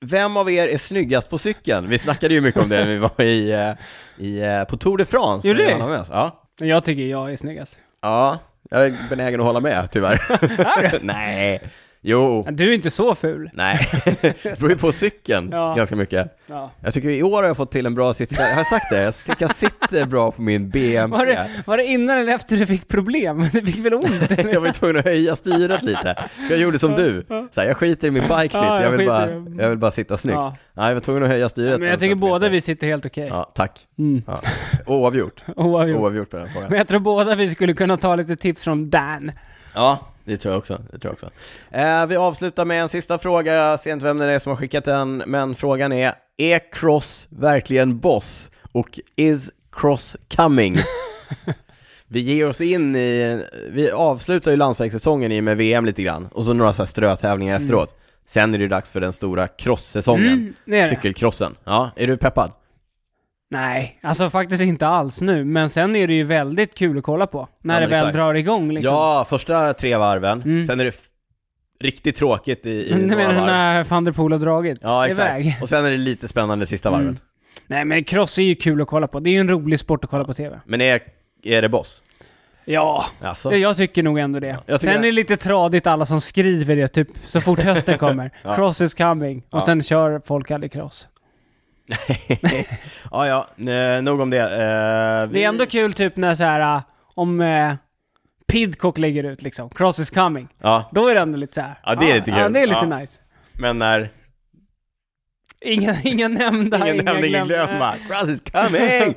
S1: vem av er är snyggast på cykeln? Vi snackade ju mycket om det när vi var i, eh, i, eh, på Tour de France. när
S2: Gjorde ni?
S1: Johanna var med oss. Ja.
S2: Jag tycker jag är snyggast.
S1: ja, jag är benägen att hålla med
S2: *laughs*
S1: tyvärr. *laughs* Nej, jo,
S2: Du är inte så ful.
S1: nej. *laughs* Det beror ju på cykeln
S2: Ja.
S1: ganska mycket.
S2: Ja.
S1: Jag tycker i år har jag fått till en bra sitt. Jag har sagt det, jag tycker jag sitter bra på min
S2: Var
S1: BMC.
S2: det, var det innan eller efter du fick problem? *laughs* Du fick väl ont? eller?
S1: *laughs* Jag var ju tvungen att höja styret lite. För Jag gjorde som du. Så här, jag skiter i min bike fit,
S2: Ja, jag
S1: jag vill
S2: skiter
S1: bara,
S2: i det.
S1: jag vill bara sitta snyggt.
S2: Ja.
S1: Nej, jag var tvungen att höja styret.
S2: Men jag
S1: en
S2: tycker
S1: centimeter.
S2: båda vi sitter helt okej.
S1: Ja, tack.
S2: Mm.
S1: Ja. Oavgjort.
S2: *laughs* Oavgjort.
S1: Oavgjort på den frågan.
S2: Men jag tror båda vi skulle kunna ta lite tips från Dan.
S1: Ja, det tror jag också. Det tror jag också. Eh, vi avslutar med en sista fråga. Jag ser inte vem det är som har skickat den, men frågan är Är Cross verkligen boss? Och is Cross
S2: *laughs*
S1: coming? vi ger oss in i, vi avslutar ju landsvägssäsongen i och med VM lite grann, och så några så här strötävlingar efteråt. Sen är det ju dags för den stora cross-säsongen,
S2: Mm, det är det.
S1: cykelcrossen. Ja, är du peppad?
S2: Nej, alltså faktiskt inte alls nu, men sen är det ju väldigt kul att kolla på. När
S1: Ja,
S2: det
S1: men
S2: väl
S1: exakt.
S2: drar igång liksom.
S1: Ja, första tre varven,
S2: Mm.
S1: sen är det f- riktigt tråkigt i,
S2: *laughs*
S1: i
S2: Du
S1: några
S2: menar
S1: varv.
S2: när van der Poel har dragit
S1: Ja, exakt.
S2: iväg?
S1: Och sen är det lite spännande sista varven.
S2: Mm. Nej men cross är ju kul att kolla på, det är ju en rolig sport att kolla på TV.
S1: Men är, är det boss?
S2: Ja,
S1: Alltså,
S2: det- jag tycker nog ändå det.
S1: jag tycker
S2: Sen är det lite tradigt alla som skriver det typ så
S1: *laughs*
S2: fort hösten kommer.
S1: Ja.
S2: Cross is coming. Och
S1: Ja.
S2: sen kör folk aldrig cross.
S1: *laughs* ja ja, n- nog om det. Eh, vi-
S2: Det är ändå kul typ när så här äh, om eh, Pidcock lägger ut liksom, cross is coming.
S1: Ja,
S2: Då är det ändå lite så här.
S1: Ja, det är lite
S2: Ja,
S1: kul.
S2: det är lite
S1: Ja.
S2: nice.
S1: men när...
S2: Inga, *laughs* inga nämnda,
S1: Ingen nämnde, ingen glömma. *laughs* Cross is coming! Mm.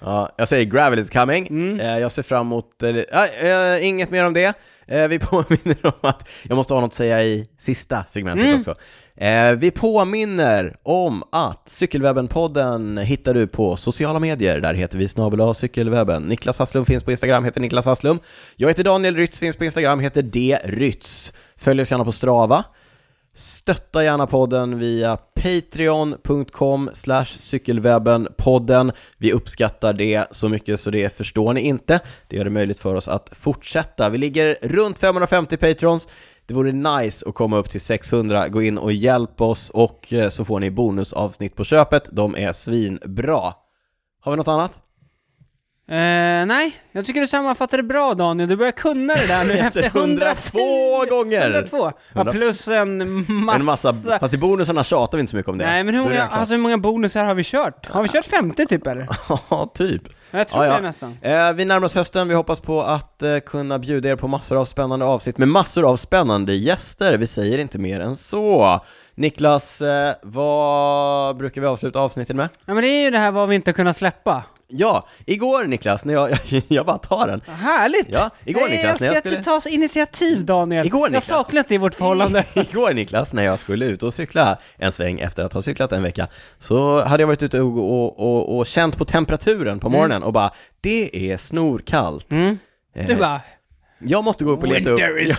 S1: ja, jag säger gravel is coming. Eh, jag ser fram emot... eh, ja, eh, inget mer om det. Eh, vi *laughs* påminner om att, jag måste ha något att säga i sista segmentet också. Eh, vi påminner om att Cykelwebben-podden hittar du på sociala medier. Där heter vi snabel A cykelwebben. Niklas Hasslum finns på Instagram, heter Niklas Hasslum. Jag heter Daniel Rytz, finns på Instagram, heter D. Rytz. Följ oss gärna på Strava. Stötta gärna podden via patreon.com slash cykelwebbenpodden. Vi uppskattar det så mycket så det förstår ni inte. Det gör det möjligt för oss att fortsätta. Vi ligger runt 550 patrons. Det vore nice att komma upp till 600. Gå in och hjälp oss och eh, så får ni bonusavsnitt på köpet. De är svinbra. Har vi något annat?
S2: Eh, nej, jag tycker du sammanfattade det bra Daniel. Du börjar kunna det
S1: *laughs*
S2: där nu efter 102
S1: gånger!
S2: 102. Ja, plus en massa...
S1: En massa, fast i bonusarna tjatar vi inte så mycket om det.
S2: Nej, men hur
S1: Då är det
S2: många,
S1: redan klart.
S2: alltså, hur många bonusar har vi kört? Har vi kört 50 typ eller?
S1: Ja, typ.
S2: Jag tror
S1: Ja, ja.
S2: det nästan.
S1: Eh, vi närmar oss hösten, vi hoppas på att eh, kunna bjuda er på massor av spännande avsnitt med massor av spännande gäster. Vi säger inte mer än så. Niklas, eh, vad brukar vi avsluta avsnitten med?
S2: Ja, men det är ju det här vad vi inte kunnat släppa.
S1: Ja, igår Niklas, när jag, *laughs* jag, bara tar den.
S2: Ja, Härligt!
S1: Ja, igår,
S2: jag
S1: Niklas, när
S2: älskar
S1: jag
S2: att du
S1: skulle-
S2: tar så initiativ Daniel.
S1: Igår,
S2: jag
S1: Niklas.
S2: saknat det i
S1: *laughs*
S2: vårt förhållande.
S1: Igår Niklas, när jag skulle ut och cykla en sväng efter att ha cyklat en vecka, så hade jag varit ute och, och, och, och känt på temperaturen på morgonen och bara, det är snorkallt.
S2: Mm.
S1: Eh,
S2: Du bara,
S1: Jag måste gå upp och leta upp...
S2: Winter is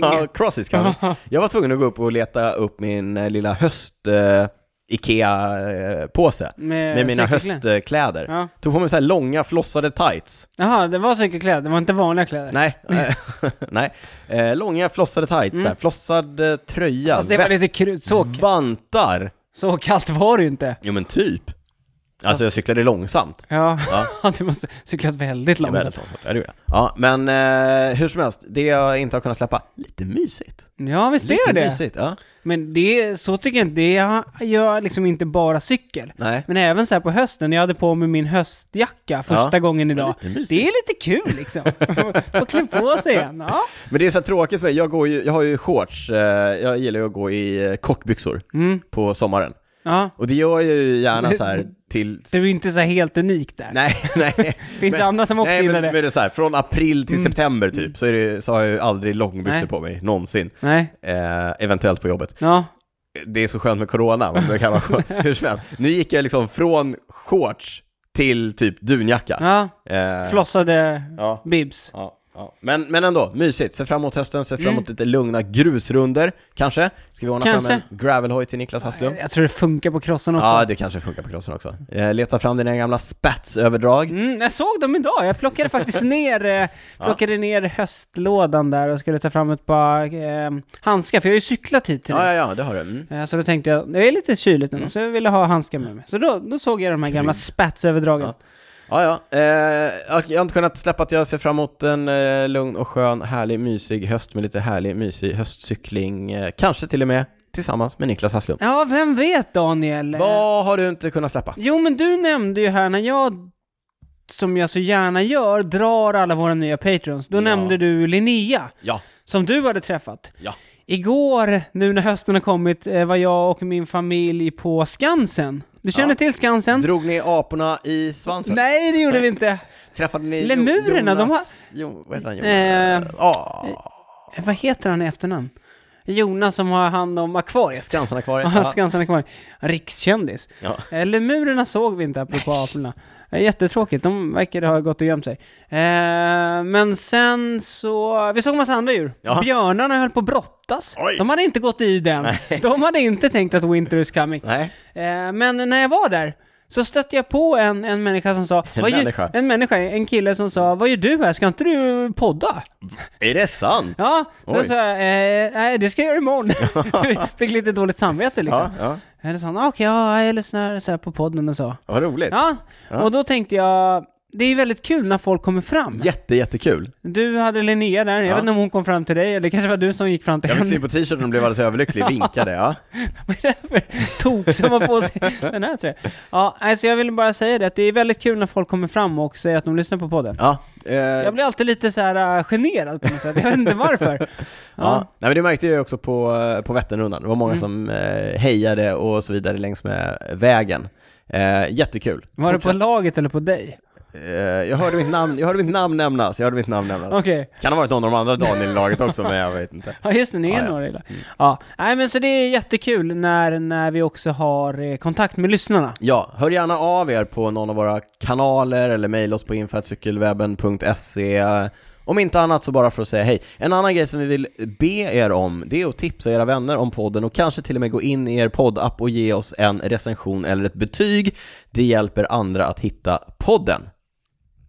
S1: *laughs* Ja, Cross is
S2: *laughs*
S1: coming. Jag var tvungen att gå upp och leta upp min eh, lilla höst... Eh, Ikea-påse.
S2: Med
S1: med mina
S2: cykelkläder.
S1: höstkläder.
S2: eh, Ja.
S1: Tog på mig så här långa flossade
S2: *laughs*
S1: tights.
S2: jaha, det var cykelkläder, det var inte vanliga kläder.
S1: Nej, eh, *laughs* nej. Eh, långa flossade tights, så här, flossad eh, tröja,
S2: Mm. Fast det var lite krut, så,
S1: vantar.
S2: så kallt var det ju inte.
S1: Jo men typ. Alltså jag cyklade långsamt.
S2: *laughs* Ja, du måste cyklat väldigt
S1: Jag är väldigt
S2: långt.
S1: långsamt. Ja, det gjorde jag. Ja, men eh, hur som helst, det jag inte har kunnat släppa, lite mysigt.
S2: Ja, visst
S1: Lite
S2: är det.
S1: mysigt, ja.
S2: Men det, så tycker jag inte, det gör liksom inte bara cykel.
S1: Nej.
S2: Men även så här på hösten, jag hade på mig min höstjacka första
S1: Ja.
S2: gången idag.
S1: Lite mysigt.
S2: Det är lite kul liksom. *laughs* Få klä på sig igen. Ja.
S1: Men det är så här tråkigt för mig, jag, går ju, jag har ju shorts, eh, jag gillar ju att gå i eh, kortbyxor
S2: Mm.
S1: på sommaren.
S2: ja.
S1: Och det gör jag ju gärna så
S2: *laughs*
S1: här till...
S2: Du är ju inte så här helt unik där.
S1: Nej, nej.
S2: Finns det andra som också
S1: nej, men,
S2: gillar det? Mm.
S1: men det är så här, från april till september typ, så, är det, så har jag ju aldrig långbyxor
S2: Nej.
S1: på mig, någonsin.
S2: Nej.
S1: Eh, eventuellt på jobbet.
S2: Ja.
S1: Det är så skönt med corona, man brukar ha
S2: *laughs*
S1: hur som helst. Nu gick jag liksom från shorts till typ dunjacka.
S2: ja.
S1: Eh,
S2: Flossade
S1: Ja.
S2: bibs.
S1: Ja, ja. Men, men ändå, mysigt. Se fram emot hösten, se fram emot lite lugna grusrunder kanske. Ska vi ordna fram
S2: Mm. Kanske.
S1: en gravelhoj till Niklas Hasslum?
S2: Jag tror det funkar på krossen också.
S1: Ja, det kanske funkar på crossen också. Eh, leta fram dina gamla spatsöverdrag.
S2: Mm, jag såg dem idag, jag
S1: *laughs*
S2: plockade faktiskt ner, eh, plockade ner höstlådan där och skulle ta fram ett par eh, handskar, för jag har ju cyklat hit till
S1: Ja, ja,
S2: det.
S1: ja, Mm. det har du. Mm.
S2: Eh, Så då tänkte jag, det är lite kyligt nu, så jag ville ha handskar med mig. Så då, då såg jag de här gamla spatsöverdragen.
S1: Ja, ja. Eh, jag har inte kunnat släppa att jag ser fram emot en eh, lugn och skön, härlig, mysig höst med lite härlig, mysig höstcykling. Eh, kanske till och med tillsammans med Niklas Hasslum.
S2: Ja, vem vet Daniel? Eh,
S1: Vad har du inte kunnat släppa?
S2: Jo, men du nämnde ju här när jag, som jag så gärna gör, drar alla våra nya patrons. Då
S1: Ja.
S2: nämnde du Linnea,
S1: Ja,
S2: som du hade träffat.
S1: ja.
S2: Igår, nu när hösten har kommit, eh, var jag och min familj på Skansen. Du känner
S1: Ja.
S2: till Skansen?
S1: Drog ni aporna i svansen?
S2: Mm. Nej, det gjorde
S1: *laughs*
S2: vi inte.
S1: Träffade ni
S2: Lemurerna, de
S1: Jonas... de har... Jo, vad heter han?
S2: Eh,
S1: Jonas? Ah,
S2: Eh, Vad heter han i efternamn? Jonas som har hand om akvariet.
S1: Skansenakvariet.
S2: Ja, Skansen Akvariet. Rikskändis.
S1: Ja.
S2: Eh, Lemurerna såg vi inte apropå aporna. Eh, Jättetråkigt, de verkade ha gått och gömt sig. Eh, men sen så, vi såg massa andra djur.
S1: Ja.
S2: Björnarna höll på att brottas.
S1: Oj.
S2: De hade inte gått i den. De hade inte tänkt att winter is coming.
S1: Nej.
S2: Eh, men när jag var där så stötte jag på en, en människa som sa...
S1: *laughs* En
S2: "Vad gör-
S1: människa?
S2: En människa, en kille som sa Vad gör du här? Ska inte du podda?
S1: Är det sant?
S2: Ja, så
S1: Oj.
S2: jag sa eh, Nej, det ska jag
S1: *laughs*
S2: göra imorgon. *laughs* Fick lite dåligt samvete liksom.
S1: Ja, ja.
S2: Eller så han, "Ah, okej, ja, jag lyssnar så här på podden och så.
S1: Vad roligt.
S2: Ja, och då tänkte jag, det är väldigt kul när folk kommer fram.
S1: Jätte, jättekul.
S2: Du hade Linnea där, jag
S1: Ja.
S2: vet inte om hon kom fram till dig, eller det kanske var du som gick fram till
S1: Jag fick
S2: henne.
S1: syn på t-shirten och blev alldeles överlycklig, vinkade, ja.
S2: Vad är det för tok som har på
S1: *laughs*
S2: sig den här tröjan? Ja, alltså jag ville bara säga det, att det är väldigt kul när folk kommer fram och säger att de lyssnar på podden.
S1: Ja, eh,
S2: Jag
S1: ja.
S2: blir alltid lite så här äh, generad på något sätt, jag vet
S1: *laughs*
S2: inte varför. Ja. Mm.
S1: Nej, men det märkte jag också på, eh, på Vätternrundan. Det var många som eh, hejade och så vidare längs med vägen. Eh, jättekul.
S2: Var det på
S1: Fortsätt.
S2: laget eller på dig?
S1: Eh, jag, hörde mitt namn, jag hörde mitt namn nämnas, jag hörde mitt namn nämnas.
S2: Okej.
S1: Kan ha varit någon av de andra Daniel i laget också, men jag vet inte.
S2: Ja just det, ni är
S1: Ja, Mm. ja.
S2: några i det. Ja, nej men så det är jättekul när, när vi också har eh, kontakt med lyssnarna.
S1: Ja, hör gärna av er på någon av våra kanaler eller mejla oss på info.cykelwebben.se Om inte annat så bara för att säga hej. En annan grej som vi vill be er om, det är att tipsa era vänner om podden och kanske till och med gå in i er poddapp och ge oss en recension eller ett betyg. Det hjälper andra att hitta podden.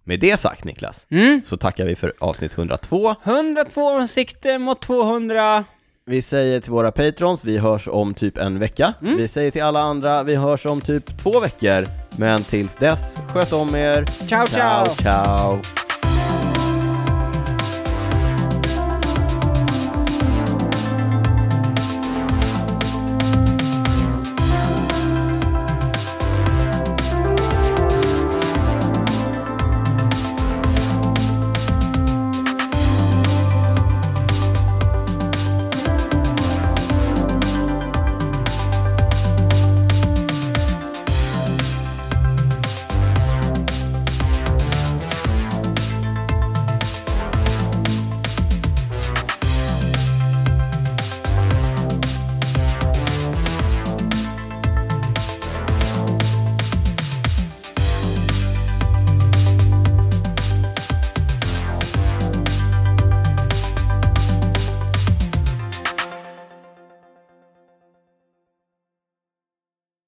S1: Med det sagt Niklas,
S2: Mm.
S1: så tackar vi för avsnitt 102.
S2: 102 ansikte mot 200.
S1: Vi säger till våra patrons, vi hörs om typ en vecka. Vi säger till alla andra, vi hörs om typ två veckor. Men tills dess, sköt om er.
S2: Ciao, ciao.
S1: ciao.